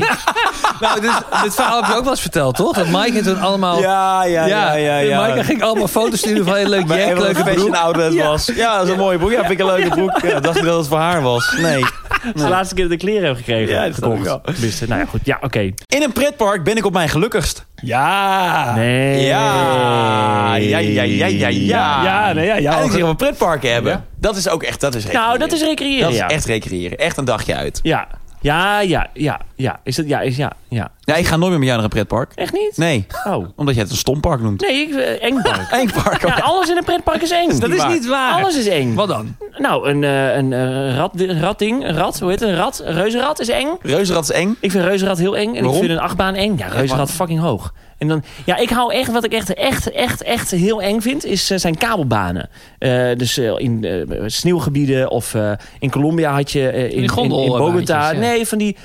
nou, dus, dit verhaal heb je ook wel eens verteld, toch? Dat Maaike toen allemaal...
Ja, ja, ja, ja. ja.
Maaike ging allemaal foto's sturen van een leuk
Maar
jack,
even een
leuke
fashion
broek.
outlet was. Ja, dat is een mooie broek. Ja, vind ik een leuke broek. Ja, dacht ik dat het voor haar was. Nee.
Dat is de laatste keer dat ik kleren heb gekregen.
Ja, dat snap ik wel.
Tenminste, nou ja, goed. Ja, oké.
In een pretpark ben ik op mijn gelukkigst.
Ja.
Nee.
Ja, ja, ja, ja, ja, ja.
Ja, nee, ja, ja.
Eigenlijk zeggen we pretparken hebben. Dat is ook echt, dat is recreëren.
Nou, dat is recreëren,
Dat is
ja.
echt recreëren. Echt een dagje uit.
Ja. Ja, ja, ja, ja. Is dat, ja, is, ja, ja.
Ja, ik ga nooit meer met jou naar een pretpark.
Echt niet?
Nee,
Oh.
omdat jij het een stompark noemt.
Nee, ik, eh, eng park.
Eén park.
Ja, alles in een pretpark is eng.
Dat is niet
waar.
Alles is eng.
Wat dan?
Nou, een, eh, een eh, rat, een ratding, een rat, hoe heet het? Een rat, een reuzenrad is eng.
Reuzenrad is eng.
Ik vind reuzenrad heel eng en
Waarom?
ik vind een achtbaan eng. Ja, reuzenrad fucking hoog. En dan, ja, ik hou echt, wat ik echt, echt, echt, echt heel eng vind, is, eh, zijn kabelbanen. Eh, dus eh, in eh, sneeuwgebieden of eh, in Colombia had je eh, in, in, in,
gondelbaantjes,
Bogota.
ja.
Nee, van die,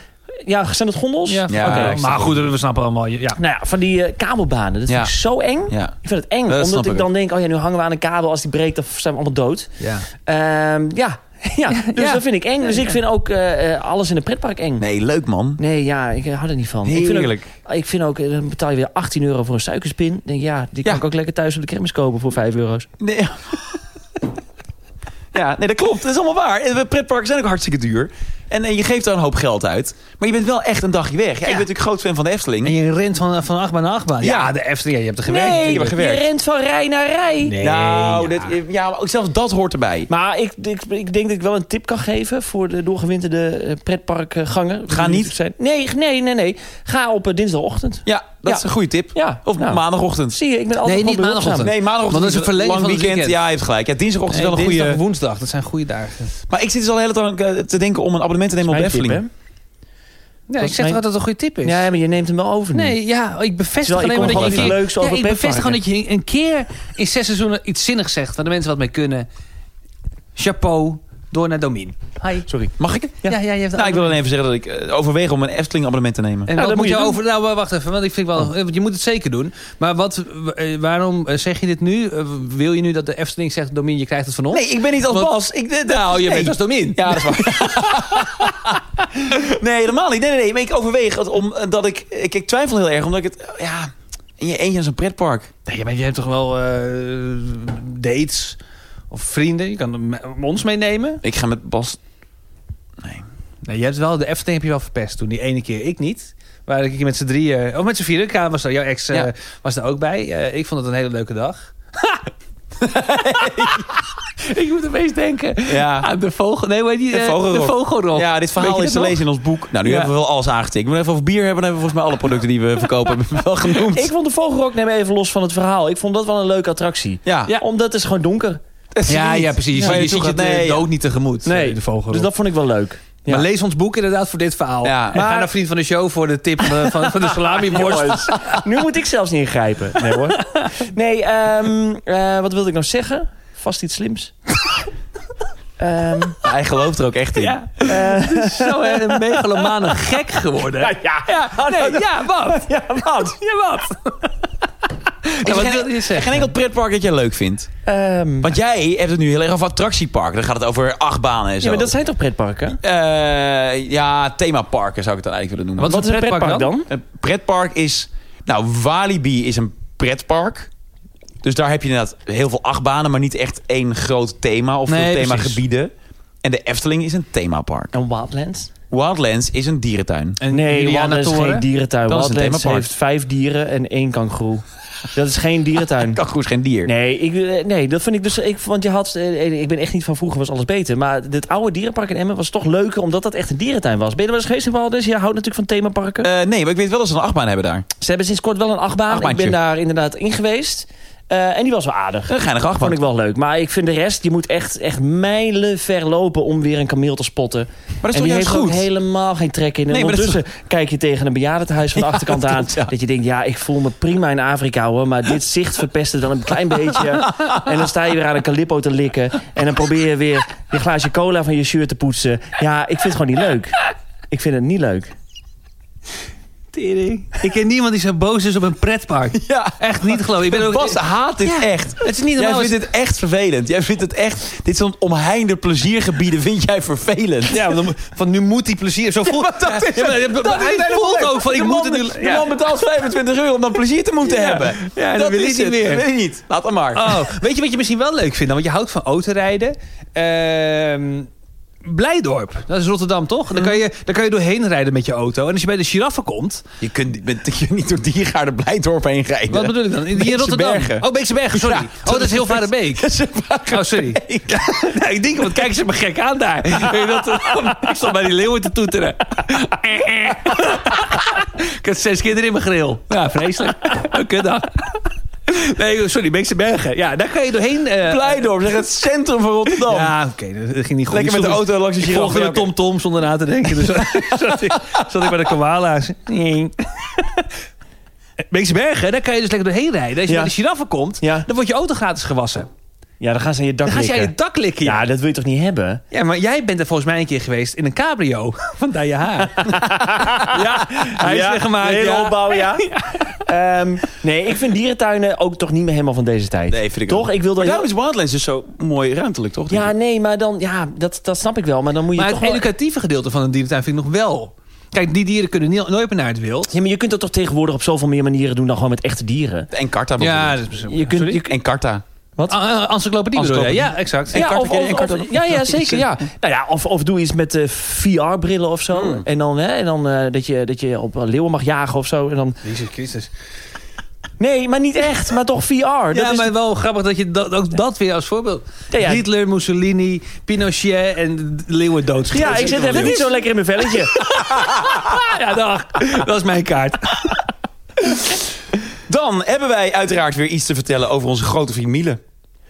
ja, zijn dat gondels?
Ja,
Oké.
ik snap
maar goed, we snappen allemaal. Ja.
Nou ja, van die eh, kabelbanen. Dat
Ja.
vind ik zo eng.
Ja.
Ik vind het eng,
Dat snap
omdat ik
ik.
dan denk, oh ja, nu hangen we aan een kabel. Als die breekt, dan zijn we allemaal dood.
ja.
Ehm, ja. ja, dus dat vind ik eng. Dus ik vind ook eh, eh, alles in een pretpark eng. Nee,
Nee, leuk man.
ja, ik eh, hou er niet van. Ik vind, ook,
Heerlijk.
ik vind ook, eh, dan betaal je weer 18 euro voor een suikerspin. Ik Denk, ja, die kan
Ja.
ik ook lekker thuis op de kermis kopen voor 5 euro's.
Nee. Ja, nee, dat klopt. Dat is allemaal waar. En de Pretparken zijn ook hartstikke duur. En, eh, je geeft daar een hoop geld uit. Maar je bent wel echt een dagje weg. Ja, Ik ben natuurlijk groot fan van de Efteling.
En je rent van, van achtbaan naar achtbaan. Ja,
Ja.
de Efteling. Ja, je hebt er gewerkt.
Nee, je
natuurlijk.
hebt gewerkt.
je rent van rij naar rij.
Nee,
nou,
ja.
ja. ja, maar ook zelfs dat hoort erbij.
Maar ik, ik, ik denk dat ik wel een tip kan geven voor de doorgewinterde eh, pretparkganger.
Ga niet.
Zijn. Nee, nee, nee, nee. Ga op eh, dinsdagochtend.
Ja, dat
Ja.
is een goede tip.
Ja,
Of
nou.
maandagochtend.
Zie je, ik ben altijd
Nee,
gewoon
niet
behulpzaam.
maandagochtend.
Nee, maandagochtend
Want dat is een verlenging
lang
van het
weekend.
weekend.
Ja, je hebt gelijk. Ja, dinsdagochtend
Nee,
is wel een
dinsdag,
goede...
woensdag, dat zijn goede dagen.
Maar ik zit dus al de hele tijd aan, eh, te denken om een abonnement te nemen op de
Mijn tip,
Efteling.
hè?
Ja, ik
is
zeg
mijn-
toch dat het een goede tip is?
Ja, maar je neemt hem wel over nu.
Nee, ja, ik bevestig
Terwijl ik
alleen maar
kom
dat je...
gewoon
een
leuks
keer-
over
ja, ik bevestig
pretparken.
gewoon dat je een keer in zes seizoenen iets zinnigs zegt... waar de mensen wat mee kunnen. Chapeau, door naar Domin. Hi.
Sorry.
Mag ik?
Ja, ja, je hebt
Nou, ik wil alleen even zeggen dat ik eh, overweeg om een Efteling abonnement te nemen.
En
Nou,
wat moet
dat moet
je
je doen.
over... Nou, wacht even, want ik vind wel... eh, want Je moet het zeker doen. Maar wat, eh, waarom eh, zeg je dit nu? Eh, Wil je nu dat de Efteling zegt... Domin, je krijgt het van ons?
Nee, ik ben niet als
Want-
Bas. Ik, eh,
Nou, je
nee.
bent als Domin.
Ja, dat is waar. nee, helemaal niet. Nee, nee, nee. Maar ik overweeg het omdat ik, ik... Ik twijfel heel erg, omdat ik het... eh, Ja, in je eentje aan zo'n pretpark.
Nee, maar je hebt toch wel eh, dates of vrienden? Je kan me- ons meenemen.
Ik ga met Bas... Nee.
Nee, je hebt wel, de Efteling heb je wel verpest toen. Die ene keer ik niet. Waar ik met z'n drieën, of met z'n vieren, K was daar, jouw ex eh,
Ja.
was daar ook bij. Eh, ik vond het een hele leuke dag. ik moet opeens denken
Ja.
aan de vogel. Nee, weet je,
De
eh,
vogelrok.
De vogelrok.
Ja, dit
Weet
verhaal
je
is te
dat nog?
lezen in ons boek. Nou, nu
Ja.
hebben we wel alles aangetikt. Moeten we even over bier hebben, dan hebben we volgens mij alle producten die we verkopen hebben we wel genoemd.
Ik vond de vogelrok, neem even los van het verhaal. Ik vond dat wel een leuke attractie.
Ja.
Omdat het is gewoon donker.
Ja, ja, precies.
Ja,
je
je
ziet
gaat-
het eh,
nee, ja.
dood niet tegemoet.
Nee.
de vogelrok.
Dus dat vond ik wel leuk. Ja.
Maar lees ons boek inderdaad voor dit verhaal.
Ja.
En ga
Maar-
naar Vriend van de Show voor de tip van de, van, van de salamiworst.
Jongens, nu moet ik zelfs niet ingrijpen. Nee hoor. Nee, ehm, eh, wat wilde ik nou zeggen? Vast iets slims. Ehm,
Hij gelooft er ook echt in. Nou,
Ja.
eh,
Zo hè, een megalomane gek geworden.
ja.
Ja, nee, ja, wat?
Ja, wat?
Ja, wat?
Er is
wat
geen-
wilde je zeggen?
Geen enkel pretpark dat jij leuk vindt.
Ehm,
Want jij hebt het nu heel erg over attractieparken. Dan gaat het over achtbanen en zo.
ja, maar dat zijn toch pretparken?
Eh, ja, themaparken zou ik het dan eigenlijk willen noemen.
Wat is een pretpark dan?
Een pretpark is... Nou, Walibi is een pretpark. Dus daar heb je inderdaad heel veel achtbanen... maar niet echt één groot thema of
Nee,
veel
precies.
themagebieden. En de Efteling is een themapark.
En Wildlands?
Wildlands is een dierentuin.
En
Nee,
Juliana
Wildlands is
Toren?
geen dierentuin.
Dat is een
Wildlands
themapark.
heeft vijf dieren en één kangoeroe. Dat is geen dierentuin.
Kan goed geen dier.
Nee, ik, eh, nee, dat vind ik dus. Ik, want je had. eh, Ik ben echt niet van vroeger was alles beter. Maar dit oude dierenpark in Emmen was toch leuker. omdat dat echt een dierentuin was. Ben je er wel eens geweest in Waldes? Je houdt natuurlijk van themaparken.
Eh, nee, maar ik weet wel dat ze een achtbaan hebben daar.
Ze hebben sinds kort wel een achtbaan. Ik
Achtbaantje.
ben daar inderdaad in geweest. Eh, en die was wel aardig.
Een geinige achtbaan.
Vond ik wel leuk. Maar ik vind de rest, je moet echt, echt mijlen ver lopen om weer een kameel te spotten.
Maar dat is
en
toch
die
juist
heeft
goed?
ook helemaal geen trek in. En
Nee, maar dat is
ondertussen kijk je tegen een bejaardentehuis van de
Ja,
achterkant
dat
aan.
klopt, ja.
Dat je denkt, ja, ik voel me prima in Afrika hoor. Maar dit zicht verpest het wel een klein beetje. En dan sta je weer aan een calippo te likken. En dan probeer je weer je glaasje cola van je shirt te poetsen. Ja, ik vind het gewoon niet leuk. Ik vind het niet leuk.
Ik ken niemand die zo boos is op een pretpark.
Ja.
Echt niet geloof ik. Ik ben ook...
Bas haat dit
Ja,
echt.
Het is niet
Jij
normaal.
vindt het echt vervelend. Jij vindt het echt... Dit soort omheinde pleziergebieden vind jij vervelend.
Ja, want dan- van nu moet die plezier. Zo voelt
maar dat is
Ja, maar-
het.
maar-
Dat
maar
is
hij
het hele
voelt
probleem.
ook van ik
De
moet
man-
het nu.
De man betaalt 25 euro om dan plezier te moeten hebben.
Ja, dat wil ik
is
niet
het.
meer.
Dat wil je niet. Laat hem maar.
Oh, weet je wat je misschien wel leuk vindt? dan? Want je houdt van autorijden. Ehm Blijdorp, dat is Rotterdam toch? Dan kan, je, dan kan je doorheen rijden met je auto. En als je bij de giraffen komt,
Je kunt niet- met- je kunt niet door Diergaarde Blijdorp heen rijden.
wat bedoel ik dan? In, hier in
Beekse
Rotterdam.
Bergen.
Oh, Beekse Bergen, sorry.
Ja,
oh, dat is heel Varenbeek.
Dat is een vraag.
Oh, sorry. nou, ik denk, want kijken ze me gek aan daar. Weet je dat, ik stond bij die leeuwen te toeteren. ik had zes kinderen in mijn grill. Ja, vreselijk. Oké dan. Nee, sorry, Beekse Bergen. Ja, daar kan je doorheen. eh,
Blijdorp, zeg het centrum van Rotterdam.
Ja, oké, dat ging niet goed.
Lekker met de auto langs de
Ik volgde
giraffe.
de Tom Tom zonder na te denken. Dus zat, ik, zat ik bij de koala's. Nee. Beekse Bergen, daar kan je dus lekker doorheen rijden. Als je
Ja.
bij de giraffen komt,
Ja.
dan wordt je auto gratis gewassen.
Ja, dan gaan ze aan je dak
Dan ga je aan
likken.
je dak likken. Ja.
Ja, dat wil je toch niet hebben?
ja, maar jij bent er volgens mij een keer geweest in een cabrio. Vandaar je haar. ja, hij is
ja,
weer gemaakt.
de hele
ja.
opbouw, ja. Ehm, nee, ik vind dierentuinen ook toch niet meer helemaal van deze tijd.
Nee, vind ik
toch?
ook.
Ik wil dat
Maar daarom is Wildlands dus zo mooi ruimtelijk, toch?
Ja, nee, maar dan... Ja, dat, dat snap ik wel. Maar dan moet je
Maar
toch
het
wel...
educatieve gedeelte van een dierentuin vind ik nog wel. Kijk, die dieren kunnen nie- nooit meer naar het wild.
Ja, maar je kunt dat toch tegenwoordig op zoveel meer manieren doen dan gewoon met echte dieren?
En Karta
Ja,
bijvoorbeeld.
dat is
Je kunt, je,
En Karta.
Ah, eh, Encyclopedie bedoel je?
Encyclopedie.
Ja, exact.
En
ja,
karten
of,
kennen,
of-
en karten
of-
nog.
ja, ja, zeker. Ja. Nou ja, of, of doe iets met eh, VR-brillen of zo.
Hmm.
En dan, hè, en dan eh, dat, je, dat je op leeuwen mag jagen of zo. En dan...
Jezus Christus.
Nee, maar niet echt, maar toch VR. Dat
ja,
is
maar wel grappig dat je dat, ook dat weer als voorbeeld.
Ja, ja.
Hitler, Mussolini, Pinochet en de leeuwen doodschiet.
ja, ik zit even niet zo lekker in mijn velletje.
Ja, dag. Dat is mijn kaart.
Dan hebben wij uiteraard weer iets te vertellen over onze grote vriend Miele.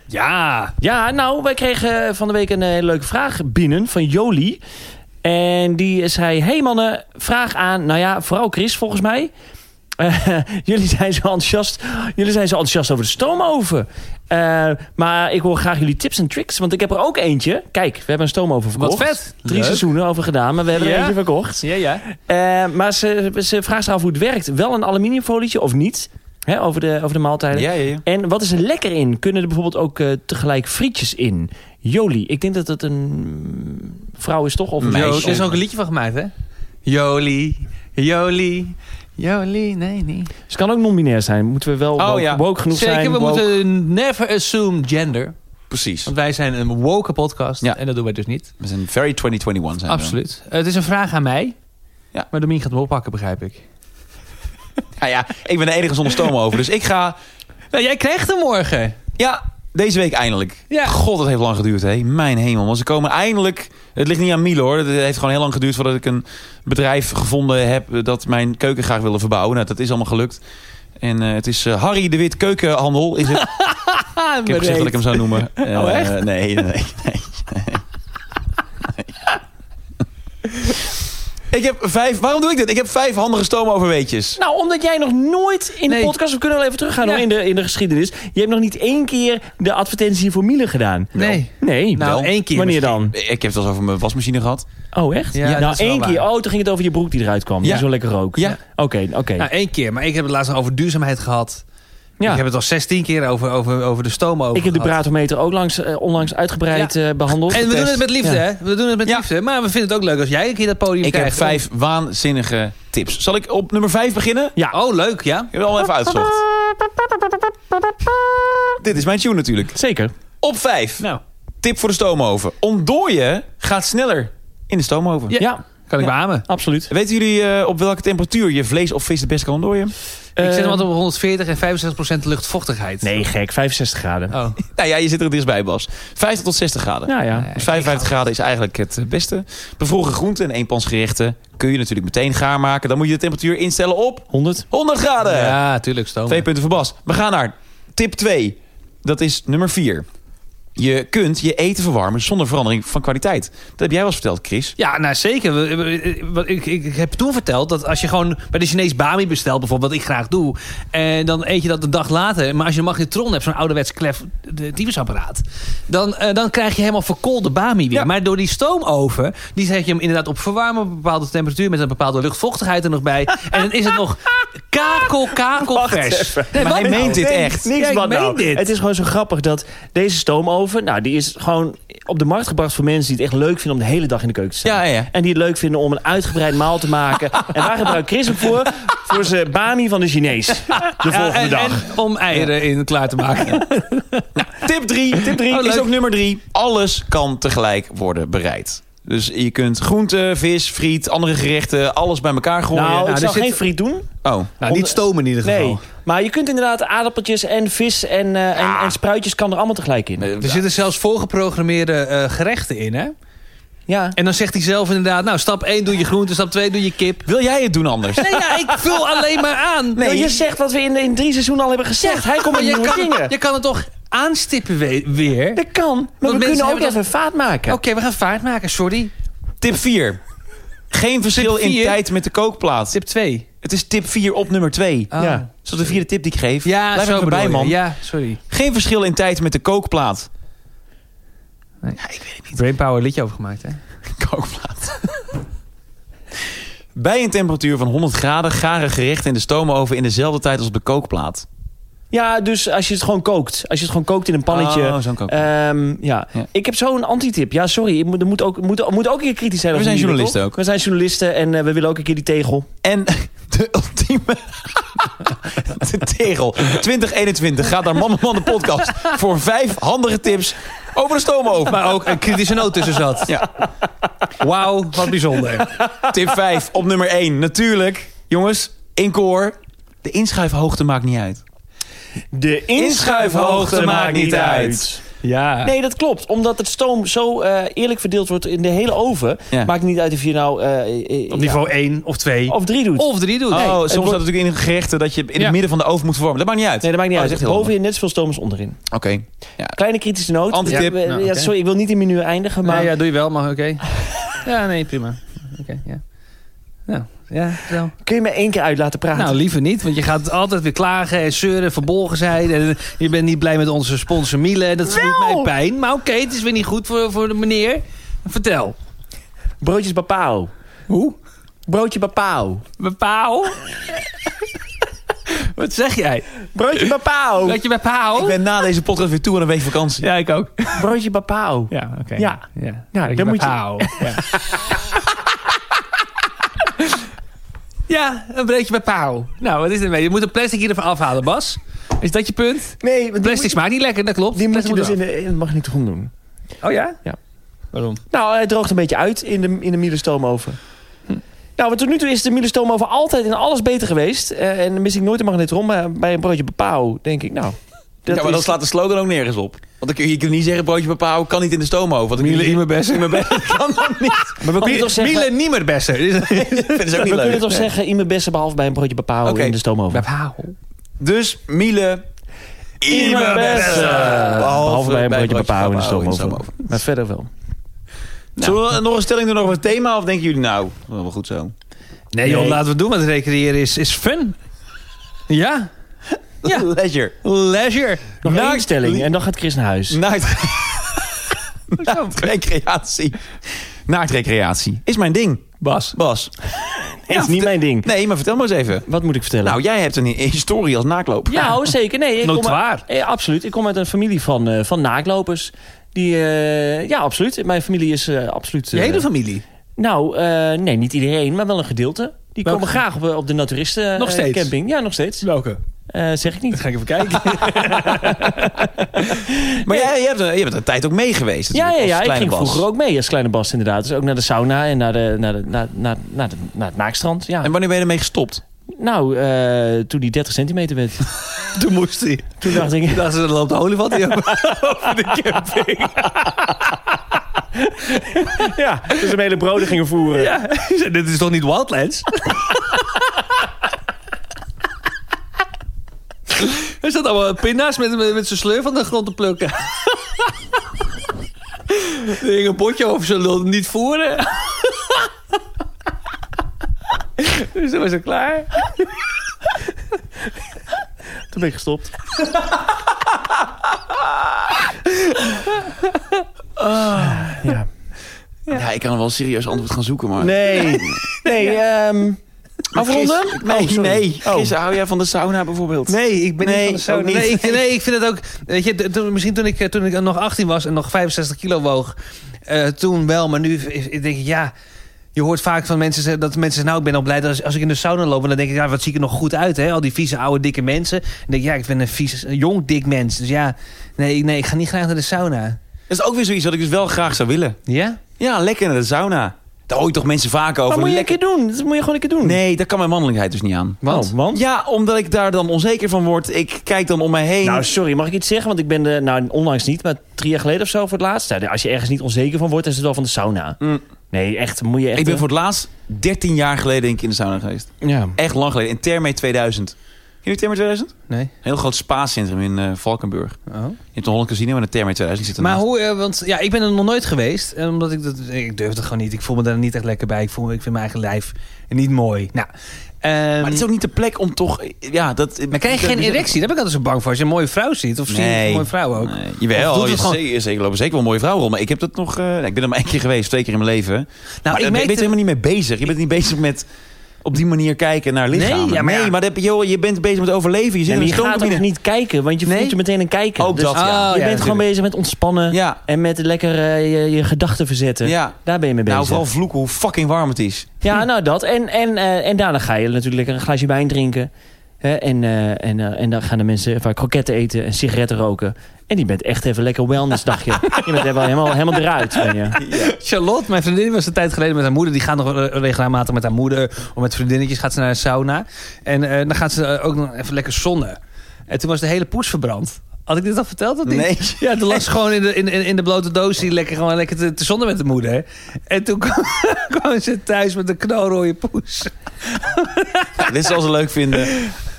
Ja.
Ja, nou, wij kregen eh, van de week een eh, leuke vraag binnen van Jolie. En die zei, hey mannen, vraag aan, nou ja, vooral Chris volgens mij. Eh, jullie, zijn zo enthousiast, jullie zijn zo enthousiast over de stoomoven. Eh, maar ik hoor graag jullie tips en tricks, want ik heb er ook eentje. Kijk, we hebben een stoomoven verkocht.
Wat vet.
Drie
Leuk.
seizoenen over gedaan, maar we hebben er
Ja.
eentje verkocht.
Ja, ja.
Eh, maar ze, ze vraagt zich af hoe het werkt. Wel een aluminiumfolietje of niet? Hè, over, de, over de maaltijden.
Ja, ja, ja.
En wat is er lekker in? Kunnen er bijvoorbeeld ook eh, tegelijk frietjes in? Jolie, ik denk dat het een vrouw is toch? Of een
Meisje.
Jo,
meisje.
er is ook een liedje van gemaakt, hè? Jolie, Jolie, Jolie, nee, nee.
Ze kan ook non-binair zijn. Moeten we wel
Oh,
woke,
ja.
woke genoeg
Zeker,
zijn?
we
woke-
moeten never assume gender.
Precies.
Want wij zijn een woke podcast
Ja.
en dat doen wij dus niet.
We zijn very 2021 zijn we.
Absoluut. Eh, het is een vraag aan mij.
Ja.
Maar Domien gaat hem oppakken, begrijp ik.
Ja, ja, ik ben de enige zonder stoom over. Dus ik ga...
Nou, jij krijgt hem morgen.
Ja, deze week eindelijk.
Ja.
God, dat heeft lang geduurd, hè. Mijn hemel. Want ze komen eindelijk... Het ligt niet aan Miele, hoor. Het heeft gewoon heel lang geduurd voordat ik een bedrijf gevonden heb... dat mijn keuken graag wilde verbouwen. Nou, dat is allemaal gelukt. En eh, het is eh, Harry de Wit Keukenhandel. Is het... ik
Ah,
heb gezegd dat ik hem zou noemen.
Oh, echt?
Eh, nee, nee, nee. nee. Ik heb vijf... Waarom doe ik dit? Ik heb vijf handige stoomoverweetjes.
Nou, omdat jij nog nooit in
Nee.
de podcast... We kunnen wel even teruggaan
Ja.
hoor, in, de, in de geschiedenis. Je hebt nog niet één keer de advertentie voor Miele gedaan.
Nee.
Nee.
Nou,
Wel.
één keer.
Wanneer
misschien.
dan?
Ik heb het wel eens over mijn wasmachine gehad.
Oh, echt?
Ja,
Ja,
dat
nou,
is wel
één
waar.
keer. Oh, toen ging het over je broek die eruit kwam.
Ja.
Die zo lekker rook.
Ja.
Oké, oké.
Nou, één keer. Maar Nou, ik heb het laatst nog over duurzaamheid gehad.
Ja.
Ik heb het al 16 keer over, over, over de stoom over
Ik heb de
gehad.
bratometer ook langs, eh, onlangs uitgebreid eh, behandeld.
En we doen het met liefde,
Ja.
hè? We doen het met
Ja.
liefde. Maar we vinden het ook leuk als jij een keer dat podium
Ik
krijgt.
heb vijf waanzinnige tips. Zal ik op nummer vijf beginnen? Ik
Ja,
Oh, leuk, ja.
heb het al even uitgezocht. Dit is mijn tune natuurlijk.
zeker.
Op vijf.
Nou,
Tip voor de stoomoven. Ontdooien gaat sneller in de stoomoven.
Ja.
Ja,
kan ik
Ja.
beamen.
absoluut.
Weten jullie eh, op welke temperatuur je vlees of vis het best kan ontdooien?
ik zet hem
Eh,
altijd op 140 en 65 luchtvochtigheid.
Nee, gek. 65 graden.
Oh.
Nou ja, je zit er het dichtstbij, Bas. 50 tot 60 graden.
Nou ja.
Dus 55 graden is eigenlijk het eh, beste. Bevroren groenten en eenpansgerechten kun je natuurlijk meteen gaar maken. Dan moet je de temperatuur instellen op
100.
100 graden.
Ja, tuurlijk, stoom.
Twee punten voor Bas. We gaan naar tip 2. Dat is nummer 4. Je kunt je eten verwarmen zonder verandering van kwaliteit. Dat heb jij wel eens verteld, Chris.
Ja, nou zeker. We- we- we- wat Ik, ik, ik heb toen verteld dat als je gewoon bij de Chinees Bami bestelt, bijvoorbeeld, wat ik graag doe, en dan eet je dat een dag later. Maar als je een magnetron hebt, zo'n ouderwets klef de- tyfusapparaat, dan, eh, dan krijg je helemaal verkoolde Bami weer.
Ja.
Maar door die stoomoven, die zet je hem inderdaad op verwarmen, op een bepaalde temperatuur, met een bepaalde luchtvochtigheid er nog bij. en dan is het nog kakel, kakel vers. Nee,
Maar
wat
hij
nou?
meent dit echt.
Niks
Ja, ik
wat
meen
nou.
dit.
Het is gewoon zo grappig dat deze stoomoven... Nou, die is gewoon op de markt gebracht voor mensen... die het echt leuk vinden om de hele dag in de keuken te staan.
Ja, ja.
En die het leuk vinden om een uitgebreid maal te maken. en waar gebruikt Chris hem voor? Voor zijn bami van de Chinees. De volgende
en,
dag.
en om eieren in klaar te maken.
Tip 3. Tip 3
Oh,
is
leuk.
ook nummer 3. Alles kan tegelijk worden bereid. Dus je kunt groente, vis, friet, andere gerechten, alles bij elkaar gooien.
nou, ik
er
zou
zit-
geen friet doen.
Oh,
nou, niet stomen in ieder geval.
Nee. Maar je kunt inderdaad aardappeltjes en vis en, eh, en, en spruitjes... kan er allemaal tegelijk in.
eh,
Er zitten zelfs voorgeprogrammeerde eh, gerechten in, hè?
Ja.
En dan zegt hij zelf inderdaad, nou, stap 1 doe je groente, stap 2 doe je kip.
wil jij het doen anders?
Nee, ja, ik vul alleen maar aan. Nou,
Nee. Nou, je zegt wat we in, in drie seizoenen al hebben gezegd. Hij
maar
komt met
je
nieuwe dingen.
kan, je kan het toch aanstippen we- weer? Oké,
Dat kan. Maar
Want
we
mensen
kunnen ook
hebben
even vaat maken.
we gaan vaart maken, sorry.
Tip 4. Geen verschil
Tip vier?
in tijd met de kookplaats.
Tip 2.
Het is tip 4 op nummer 2.
Oh.
Ja.
Dat is de vierde tip die ik geef.
Ja,
Blijf
zo
even bij,
bedoel
man.
je. Ja, sorry.
Geen verschil in tijd met de kookplaat.
Brainpower liedje over gemaakt, hè?
kookplaat. Bij een temperatuur van 100 graden garen gerechten in de stoomoven in dezelfde tijd als op de kookplaat.
Ja, dus als je het gewoon kookt. Als je het gewoon kookt in een pannetje.
Oh, zo'n kookplaat.
Ehm, ja.
Ja.
Ik heb zo'n antitip. Ja, sorry. ik Moet, er moet, ook, moet, moet ook een keer kritisch zijn.
We
over
zijn
die
journalisten
winkel.
ook.
We zijn journalisten en eh, we willen ook een keer die tegel.
En de ultieme... de tegel 2021 gaat naar Mannen Man de podcast voor vijf handige tips over de stoomoven.
Maar ook een kritische noot tussen zat.
Ja.
Wauw, wat bijzonder.
Tip 5 op nummer 1. Natuurlijk, jongens, in koor. De inschuifhoogte maakt niet uit.
De
inschuifhoogte maakt niet uit.
Ja.
Nee, dat klopt. Omdat het stoom zo eh, eerlijk verdeeld wordt in de hele oven.
Ja.
Maakt niet uit of je nou... eh, eh,
Op niveau 1 of 2.
ja, of drie doet.
Of 3 doet.
Oh, soms staat
wordt-
het natuurlijk in gerechten dat je in
Ja.
het midden van de oven moet verwarmen. Dat maakt niet uit.
Nee, dat maakt niet
Oh,
uit.
is echt heel
Bovenin net zoveel stoom als onderin.
handig. Oké. Ja.
Kleine kritische noot.
Antitip.
Ja, we-
Nou,
ja,
oké.
sorry, ik wil niet in menu eindigen. Maar
Nee, ja, doe je wel, maar oké. ja, nee, prima. Oké, ja. Nou, ja, zo.
kun je me één keer uit laten praten?
Nou, liever niet, want je gaat altijd weer klagen en zeuren, verbolgen zijn. En je bent niet blij met onze sponsor Miele. Dat doet mij pijn. Maar oké, het is weer niet goed voor, voor de meneer. Vertel.
Broodjes Bapao.
Hoe?
Broodje Bapao.
Bepaal? Wat zeg jij?
Broodje Bapao.
Dat je bepaal?
Ik ben na deze podcast weer toe aan een week vakantie.
Ja, ik ook.
Broodje Bapao.
Ja, oké.
Ja.
ja.
Ja, dan moet je-
bepaal. Ja. Ja, een breedje bij pauw. Nou, wat is ermee? Je moet een plastic hiervan afhalen, Bas. Is dat je punt?
Nee, want die
Plastic smaakt niet lekker, dat klopt.
moet, die moet je
Plastic
dus in
moet
de, in de magnetron doen.
eraf. Oh ja?
Ja.
Waarom?
Nou, het droogt een beetje uit in de, in de mielenstoomoven. Nou, want tot nu toe is de mielenstoomoven altijd in alles beter geweest. Eh, en dan mis ik nooit de magnetron, maar bij een broodje Bapao denk ik, nou...
ja, maar
is-
dan slaat de slogan ook nergens op. Want dan kun je, je kunt niet zeggen, broodje bepaal, kan niet in de stoomoven. Want
Miele
ik
in mijn best.
in mijn best. kan dat niet.
Maar we kunnen toch zeggen...
Miele niet meer beste.
Dat is ook
We
niet
kunnen
leuk.
toch zeggen, in mijn beste behalve bij een broodje Bapao
Oké.
in de stoomoven.
Dus Miele... in mijn best.
Behalve bij een broodje Bapao in de
Bapao
stoomoven. Maar verder wel.
Zullen we nog een stelling doen over het thema? Of denken jullie, nou, wel goed zo.
Nee joh,
Nee.
laten we het doen, want recreëren is, is fun. Ja, Ja.
Leisure.
leisure.
Nog
Naakt-
één stelling en dan gaat Chris naar huis.
Naakt... Naakt recreatie. Naakt recreatie. Is mijn ding.
Bas.
Bas.
Dat is niet mijn ding.
Nee, maar vertel maar eens even.
Wat moet ik vertellen?
Nou, jij hebt een historie als naakloop.
Ja, oh, zeker. Nee, ik kom
Notoir.
uit, eh, absoluut. Ik kom uit een familie van, eh, van naaklopers. Die, eh, ja, absoluut. Mijn familie is eh, absoluut...
Je
eh,
hele familie.
Nou, eh, nee, niet iedereen, maar wel een gedeelte. Die
Welke?
komen graag op, eh, op de naturisten
Nog
eh,
steeds?
camping. Ja, nog steeds.
Welke?
Eh, zeg ik niet.
Ga ik even kijken.
Maar jij, jij, hebt een, jij bent een tijd ook mee geweest.
Ja, ja,
natuurlijk,
ja
als
ik
kleine
ging
Bas.
vroeger ook mee als kleine Bas inderdaad. Dus ook naar de sauna en naar, de, naar, de, naar, naar, naar, de- naar het naakstrand. Ja.
En wanneer ben je ermee gestopt?
Nou, eh, toen die 30 centimeter werd,
Toen moest hij.
toen dacht ik...
Dacht ze, er loopt de olifant hier over de camping.
ja, dus een hele broden gingen voeren.
Ja, hij zei, dit is toch niet Wildlands? Er zat allemaal pinda's met, met, met zijn sleur van de grond te plukken. Er hing een potje over zijn lul, niet voeren. Dus dan was het klaar.
Toen ben ik gestopt. ja.
Ja. ik kan er wel een serieus antwoord gaan zoeken, maar...
Nee, nee. ehm afronden?
Nee,
Oh, sorry.
nee.
Oh.
Gisteren hou jij van de sauna bijvoorbeeld?
Nee, ik ben
Nee,
niet van de sauna.
ook niet.
Nee, ik, nee, ik vind het ook... Weet je, t- toen- misschien toen ik, eh, toen ik nog 18 was en nog 65 kilo woog... eh, toen wel, maar nu is- ik denk ik, ja... Je hoort vaak van mensen ze- dat mensen zeggen... nou, ik ben al blij dat als, als ik in de sauna loop... en dan denk ik, ja, wat zie ik er nog goed uit, hè? Al die vieze, oude, dikke mensen. Dan denk ik, ja, ik ben een vies, een jong, dik mens. Dus ja, nee, ik- nee, ik ga niet graag naar de sauna.
Dat is ook weer zoiets wat ik dus wel graag zou willen.
Ja?
Ja, lekker naar de sauna. Daar hoor je toch mensen vaak
Maar
over.
moet je een
Lekker-
keer doen. Dat moet je gewoon een keer doen.
Nee, daar kan mijn mannelijkheid dus niet aan.
Want? Oh, want?
Ja, omdat ik daar dan onzeker van word. Ik kijk dan om mij heen.
Nou, sorry, mag ik iets zeggen? Want ik ben er, nou, onlangs niet, maar drie jaar geleden of zo voor het laatst. Nou, als je ergens niet onzeker van wordt, dan is het wel van de sauna.
Mm.
Nee, echt, moet je echt...
ik ben voor het laatst 13 jaar geleden denk ik in de sauna geweest.
Ja.
Echt lang geleden. In Terme 2000. Ken je Terme 2000?
Nee.
Een heel groot spa-centrum in eh, Valkenburg.
Oh.
Je hebt een Holland Casino, maar de Terme 2000 zit
Maar
ernaast.
hoe, eh, want ja, ik ben er nog nooit geweest. eh, Omdat ik dat, ik durf het gewoon niet. Ik voel me daar niet echt lekker bij. Ik, voel, ik vind mijn eigen lijf niet mooi. Nou, ehm,
Maar het is ook niet de plek om toch... Ja, dat...
Maar krijg je geen erectie? Daar ben ik altijd zo bang voor. Als je een mooie vrouw ziet, of zie je
Nee.
een mooie vrouw ook.
Nee,
Of
jawel,
doet
je
het gewoon-
zeker, zeker lopen zeker wel mooie vrouwen rond. Maar ik heb dat nog... eh, nou, ik ben er maar één keer geweest, twee keer in mijn leven. Nou,
ik
je
merkte-
bent er helemaal niet mee bezig. Je bent niet bezig met op die manier kijken naar lichaam.
ja, maar
nee,
ja.
maar dat, joh, je bent bezig met overleven. Je zit
Nee,
in
maar
een
je gaat ook
stoomcabine.
niet kijken, want je
Nee.
voelt je meteen een kijker.
Ook
Dus
Ah,
dat, Oh, ja.
Je bent gewoon
natuurlijk.
bezig met ontspannen
Ja,
en met lekker eh, je, je gedachten verzetten.
ja.
Daar ben je mee bezig.
Nou, vooral vloeken hoe fucking warm het is.
Ja, nou dat. En, en, eh, en daarna ga je natuurlijk lekker een glaasje wijn drinken. Hè, en, eh, en, eh, en dan gaan de mensen vaak kroketten eten en sigaretten roken. En die bent echt even lekker wellnessdagje. je bent er wel helemaal, helemaal eruit. Ben je.
Charlotte, mijn vriendin, was een tijd geleden met haar moeder. Die gaat nog eh, regelmatig met haar moeder of met vriendinnetjes gaat ze naar de sauna. En eh, dan gaat ze eh, ook nog even lekker zonnen. En toen was de hele poes verbrand. Had ik dit al verteld? Of niet?
Nee.
Ja, toen lag ze gewoon in de, in, in, in de blote doos die lekker, gewoon lekker te, te zonnen met de moeder. En toen kwam, kwam ze thuis met een knalrode poes.
Ja, dit zal ze leuk vinden.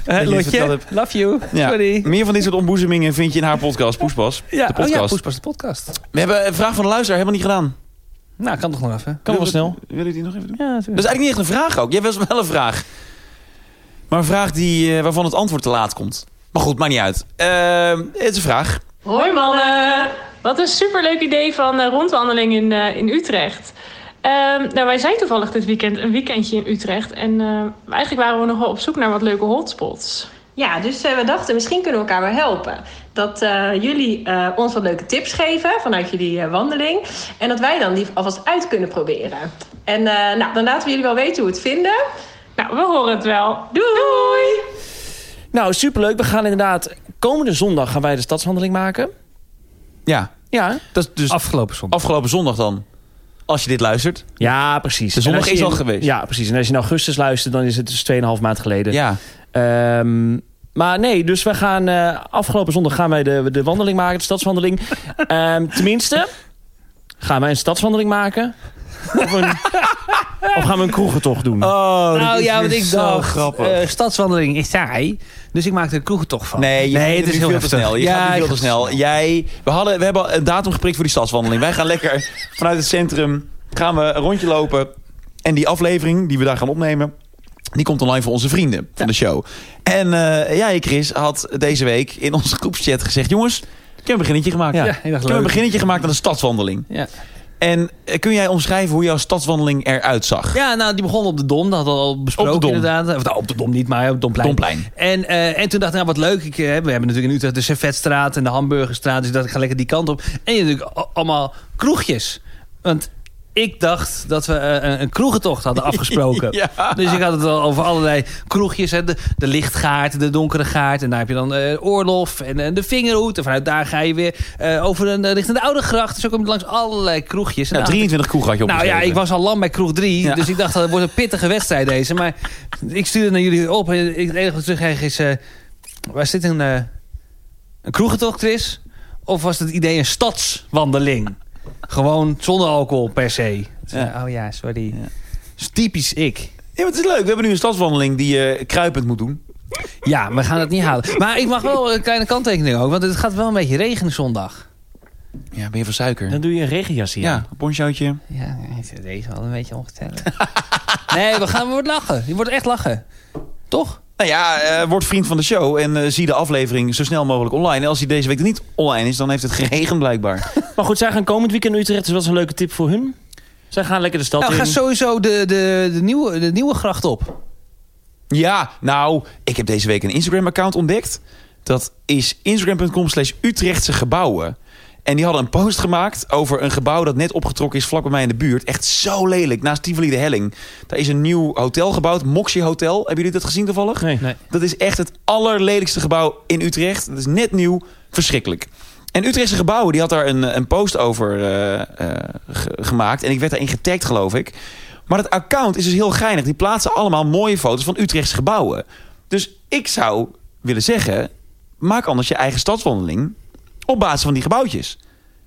Hè,
het verteld
Lotje,
hebt.
love you.
Ja.
Sorry.
Meer van dit soort ontboezemingen vind je in haar podcast, Poespas.
Ja,
de
oh
podcast.
ja, Poespas de podcast.
We hebben een vraag van de luisteraar helemaal niet gedaan.
Nou, kan toch nog even.
Kan wel snel.
Wil je die nog even doen?
Ja,
Dat is eigenlijk niet echt een vraag ook. Jij was wel een vraag. Maar een vraag die, eh, waarvan het antwoord te laat komt. Maar goed, maakt niet uit. Ehm, het is een vraag.
Hoi mannen! Wat een superleuk idee van eh, rondwandeling in, eh, in Utrecht. Ehm, nou, wij zijn toevallig dit weekend een weekendje in Utrecht. En eh, eigenlijk waren we nogal op zoek naar wat leuke hotspots.
Ja, dus eh, we dachten misschien kunnen we elkaar wel helpen. Dat eh, jullie eh, ons wat leuke tips geven vanuit jullie eh, wandeling. En dat wij dan die alvast uit kunnen proberen. En eh, nou, dan laten we jullie wel weten hoe we het vinden.
Nou, we horen het wel.
Doei!
Nou, superleuk. We gaan inderdaad... Komende zondag gaan wij de stadswandeling maken.
Ja,
Ja,
dat is dus
Afgelopen zondag.
afgelopen zondag dan. Als je dit luistert.
ja precies.
De zondag
En als je
is al
in-
geweest.
Ja, precies. En als je in augustus luistert, dan is het dus 2,5 maand geleden.
Ja.
Ehm, maar nee, dus we gaan eh, afgelopen zondag gaan wij de, de wandeling maken, de stadswandeling. Ehm, tenminste, gaan wij een stadswandeling maken? Of, een, of gaan we een kroegentocht doen?
Oh,
Nou ja, want ik
zo
dacht,
grappig.
eh, stadswandeling is saai. Dus ik maakte er kroegentocht van.
Nee, je gaat
het
nu
is heel
veel te
heftig.
snel. Je
Ja,
gaat nu
ik
veel te
ga
snel. Jij, we, hadden, we hebben een datum geprikt voor die stadswandeling. Wij gaan lekker vanuit het centrum gaan we een rondje lopen. En die aflevering die we daar gaan opnemen, die komt online voor onze vrienden van de show. En eh, jij, Chris, had deze week in onze groepschat gezegd... jongens, ik heb een beginnetje gemaakt.
Ja,
ik
ik
heb
dacht
een
leuk.
beginnetje gemaakt aan de stadswandeling.
Ja.
En eh, kun jij omschrijven hoe jouw stadswandeling eruit zag?
Ja, nou, die begon op de Dom. Dat hadden we al besproken
Dom.
inderdaad. Of, nou, op de Dom niet, maar op het Domplein.
Domplein.
En, eh, en toen dacht ik, nou wat leuk. Ik, eh, we hebben natuurlijk in Utrecht de Servetstraat en de Hamburgerstraat. Dus ik dacht, ik ga lekker die kant op. En je hebt natuurlijk a- allemaal kroegjes. Want ik dacht dat we eh, een, een kroegentocht hadden afgesproken.
Ja.
Dus ik had het al over allerlei kroegjes. Hè. De, de lichtgaard, de donkere gaart. En daar heb je dan eh, Oorlof en, eh, de Vingerhoed. En vanuit daar ga je weer eh, over een, eh, richting de Oude Gracht. Dus zo kom je langs allerlei kroegjes. En
Nou,
dan-
23 kroeg had je
nou ja,
opgeschreven.
ik was al lam bij kroeg 3.
Ja.
Dus ik dacht, dat wordt een pittige wedstrijd deze. Maar ik stuurde naar jullie op. En ik- het enige wat ik terugkreeg is... eh, waar zit een, eh een kroegentocht, Chris? Of was het idee een stadswandeling? Gewoon zonder alcohol per se.
Ja.
Oh ja, sorry.
Ja.
Dat is typisch ik.
Ja, maar het is leuk. We hebben nu een stadswandeling die je kruipend moet doen.
Ja, we gaan het niet halen. Maar ik mag wel een kleine kanttekening ook. Want het gaat wel een beetje regenen zondag.
Ja, ben je van suiker?
Dan doe je een regenjasje
ja,
aan.
een ponchootje.
Ja, het is wel een beetje ongezellig. nee, we gaan we worden lachen. Je wordt echt lachen. Toch?
Nou ja, eh, word vriend van de show en eh, zie de aflevering zo snel mogelijk online. En als die deze week niet online is, dan heeft het geregend blijkbaar.
Maar goed, zij gaan komend weekend naar Utrecht. Dus dat is een leuke tip voor hun. Zij gaan lekker de stad
Nou,
in.
ga sowieso de, de, de, nieuwe, de nieuwe gracht op.
Oh,
Ja, nou, ik heb deze week een Instagram-account ontdekt. Dat is instagram.com slash Utrechtse gebouwen. En die hadden een post gemaakt over een gebouw dat net opgetrokken is vlak bij mij in de buurt. Echt zo lelijk, naast Tivoli de Helling. Daar is een nieuw hotel gebouwd, Moxie Hotel. Hebben jullie dat gezien toevallig?
Nee. Nou,
Dat is echt het allerlelijkste gebouw in Utrecht. Dat is net nieuw, verschrikkelijk. En Utrechtse gebouwen, die had daar een, een post over eh, eh, ge- gemaakt. En ik werd daarin getagd, geloof ik. Maar het account is dus heel geinig. Die plaatsen allemaal mooie foto's van Utrechtse gebouwen. Dus ik zou willen zeggen... maak anders je eigen stadswandeling op basis van die gebouwtjes.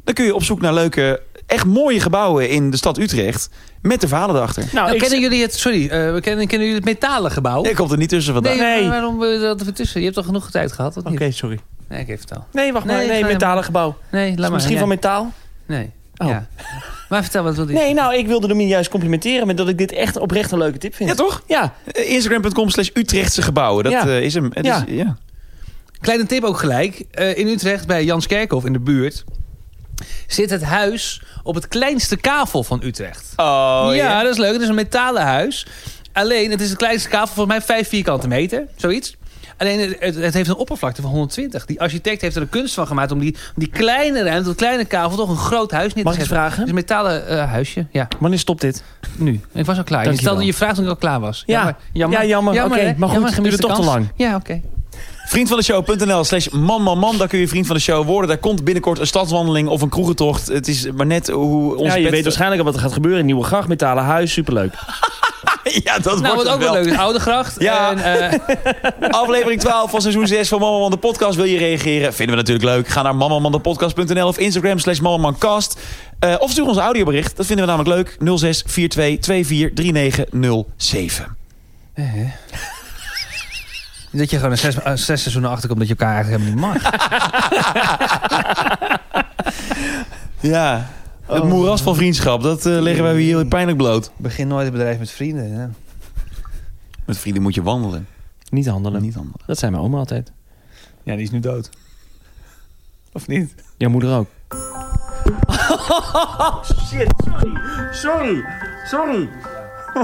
Dan kun je op zoek naar leuke, echt mooie gebouwen in de stad Utrecht... met de verhalen erachter.
Nou,
Nou,
ik
kennen jullie het, sorry, eh, we kennen, kennen jullie het metalen gebouw?
Ik komt er niet tussen vandaag.
nee,
nee.
maar waarom eh, dat er tussen? Je hebt toch genoeg tijd gehad? of
Oké,
niet?
sorry.
Nee, ik even vertel.
Nee, wacht
Nee,
maar. Nee,
ga-
metalen gebouw.
Nee, laat maar.
Misschien
nee.
van metaal?
Nee.
Oh.
Ja. Maar vertel wat wil je?
Nee, nou, ik wilde Domien juist complimenteren... met dat ik dit echt oprecht een leuke tip vind.
Ja, toch?
Ja,
Eh, Instagram.com slash Utrechtse gebouwen. Dat
Ja.
eh, is hem. Het
Ja.
Is, ja.
Kleine tip ook gelijk. Eh, in Utrecht, bij Janskerkhof in de buurt... zit het huis op het kleinste kavel van Utrecht.
Oh,
ja, dat is leuk. Het is een metalen huis. Alleen, het is de kleinste kavel, volgens mij 5 vierkante meter, zoiets. Alleen, het- het, het heeft een oppervlakte van 120. Die architect heeft er een kunst van gemaakt om die, om die kleine ruimte, dat kleine kavel, toch een groot huis neer te
mag ik
zetten.
iets vragen?
Het is een metalen eh, huisje, ja,
Wanneer stopt dit?
nu. Ik was al klaar.
Dank
je
je
stelde
wel.
je vraag toen ik al klaar was.
Ja.
jammer. jammer.
Ja, jammer. Oké,
hè?
maar goed,
Jammer, gemiste
duurde toch te
kans.
lang.
Ja, oké.
Vriend van de show.nl slash man, man, man. Daar kun je vriend van de show worden. Daar komt binnenkort een stadswandeling of een kroegentocht. Het is maar net hoe ons
ja, je
pet-
weet dus waarschijnlijk al wat er gaat gebeuren. Nieuwe gracht, metalen huis, superleuk.
ja, dat
Nou,
wordt
wat
het
ook wel leuk is, Oudegracht.
Ja.
En, eh,
Aflevering 12 van seizoen 6 van Mama Man de Podcast. Wil je reageren? Vinden we natuurlijk leuk. Ga naar mamamandepodcast.nl of Instagram slash mamamancast. Eh, of stuur ons een audiobericht. Dat vinden we namelijk leuk. 06
dat je gewoon een zes, eh, zes seizoenen achterkomt dat je elkaar eigenlijk helemaal niet mag.
Ja, het moeras van vriendschap. Dat eh, leggen wij hier pijnlijk bloot.
Begin nooit een bedrijf met vrienden. Hè?
Met vrienden moet je wandelen.
Niet handelen.
Niet handelen.
Dat zei mijn oma altijd.
Ja, die is nu dood. Of niet?
Jouw moeder ook.
Shit, sorry. Sorry. Sorry.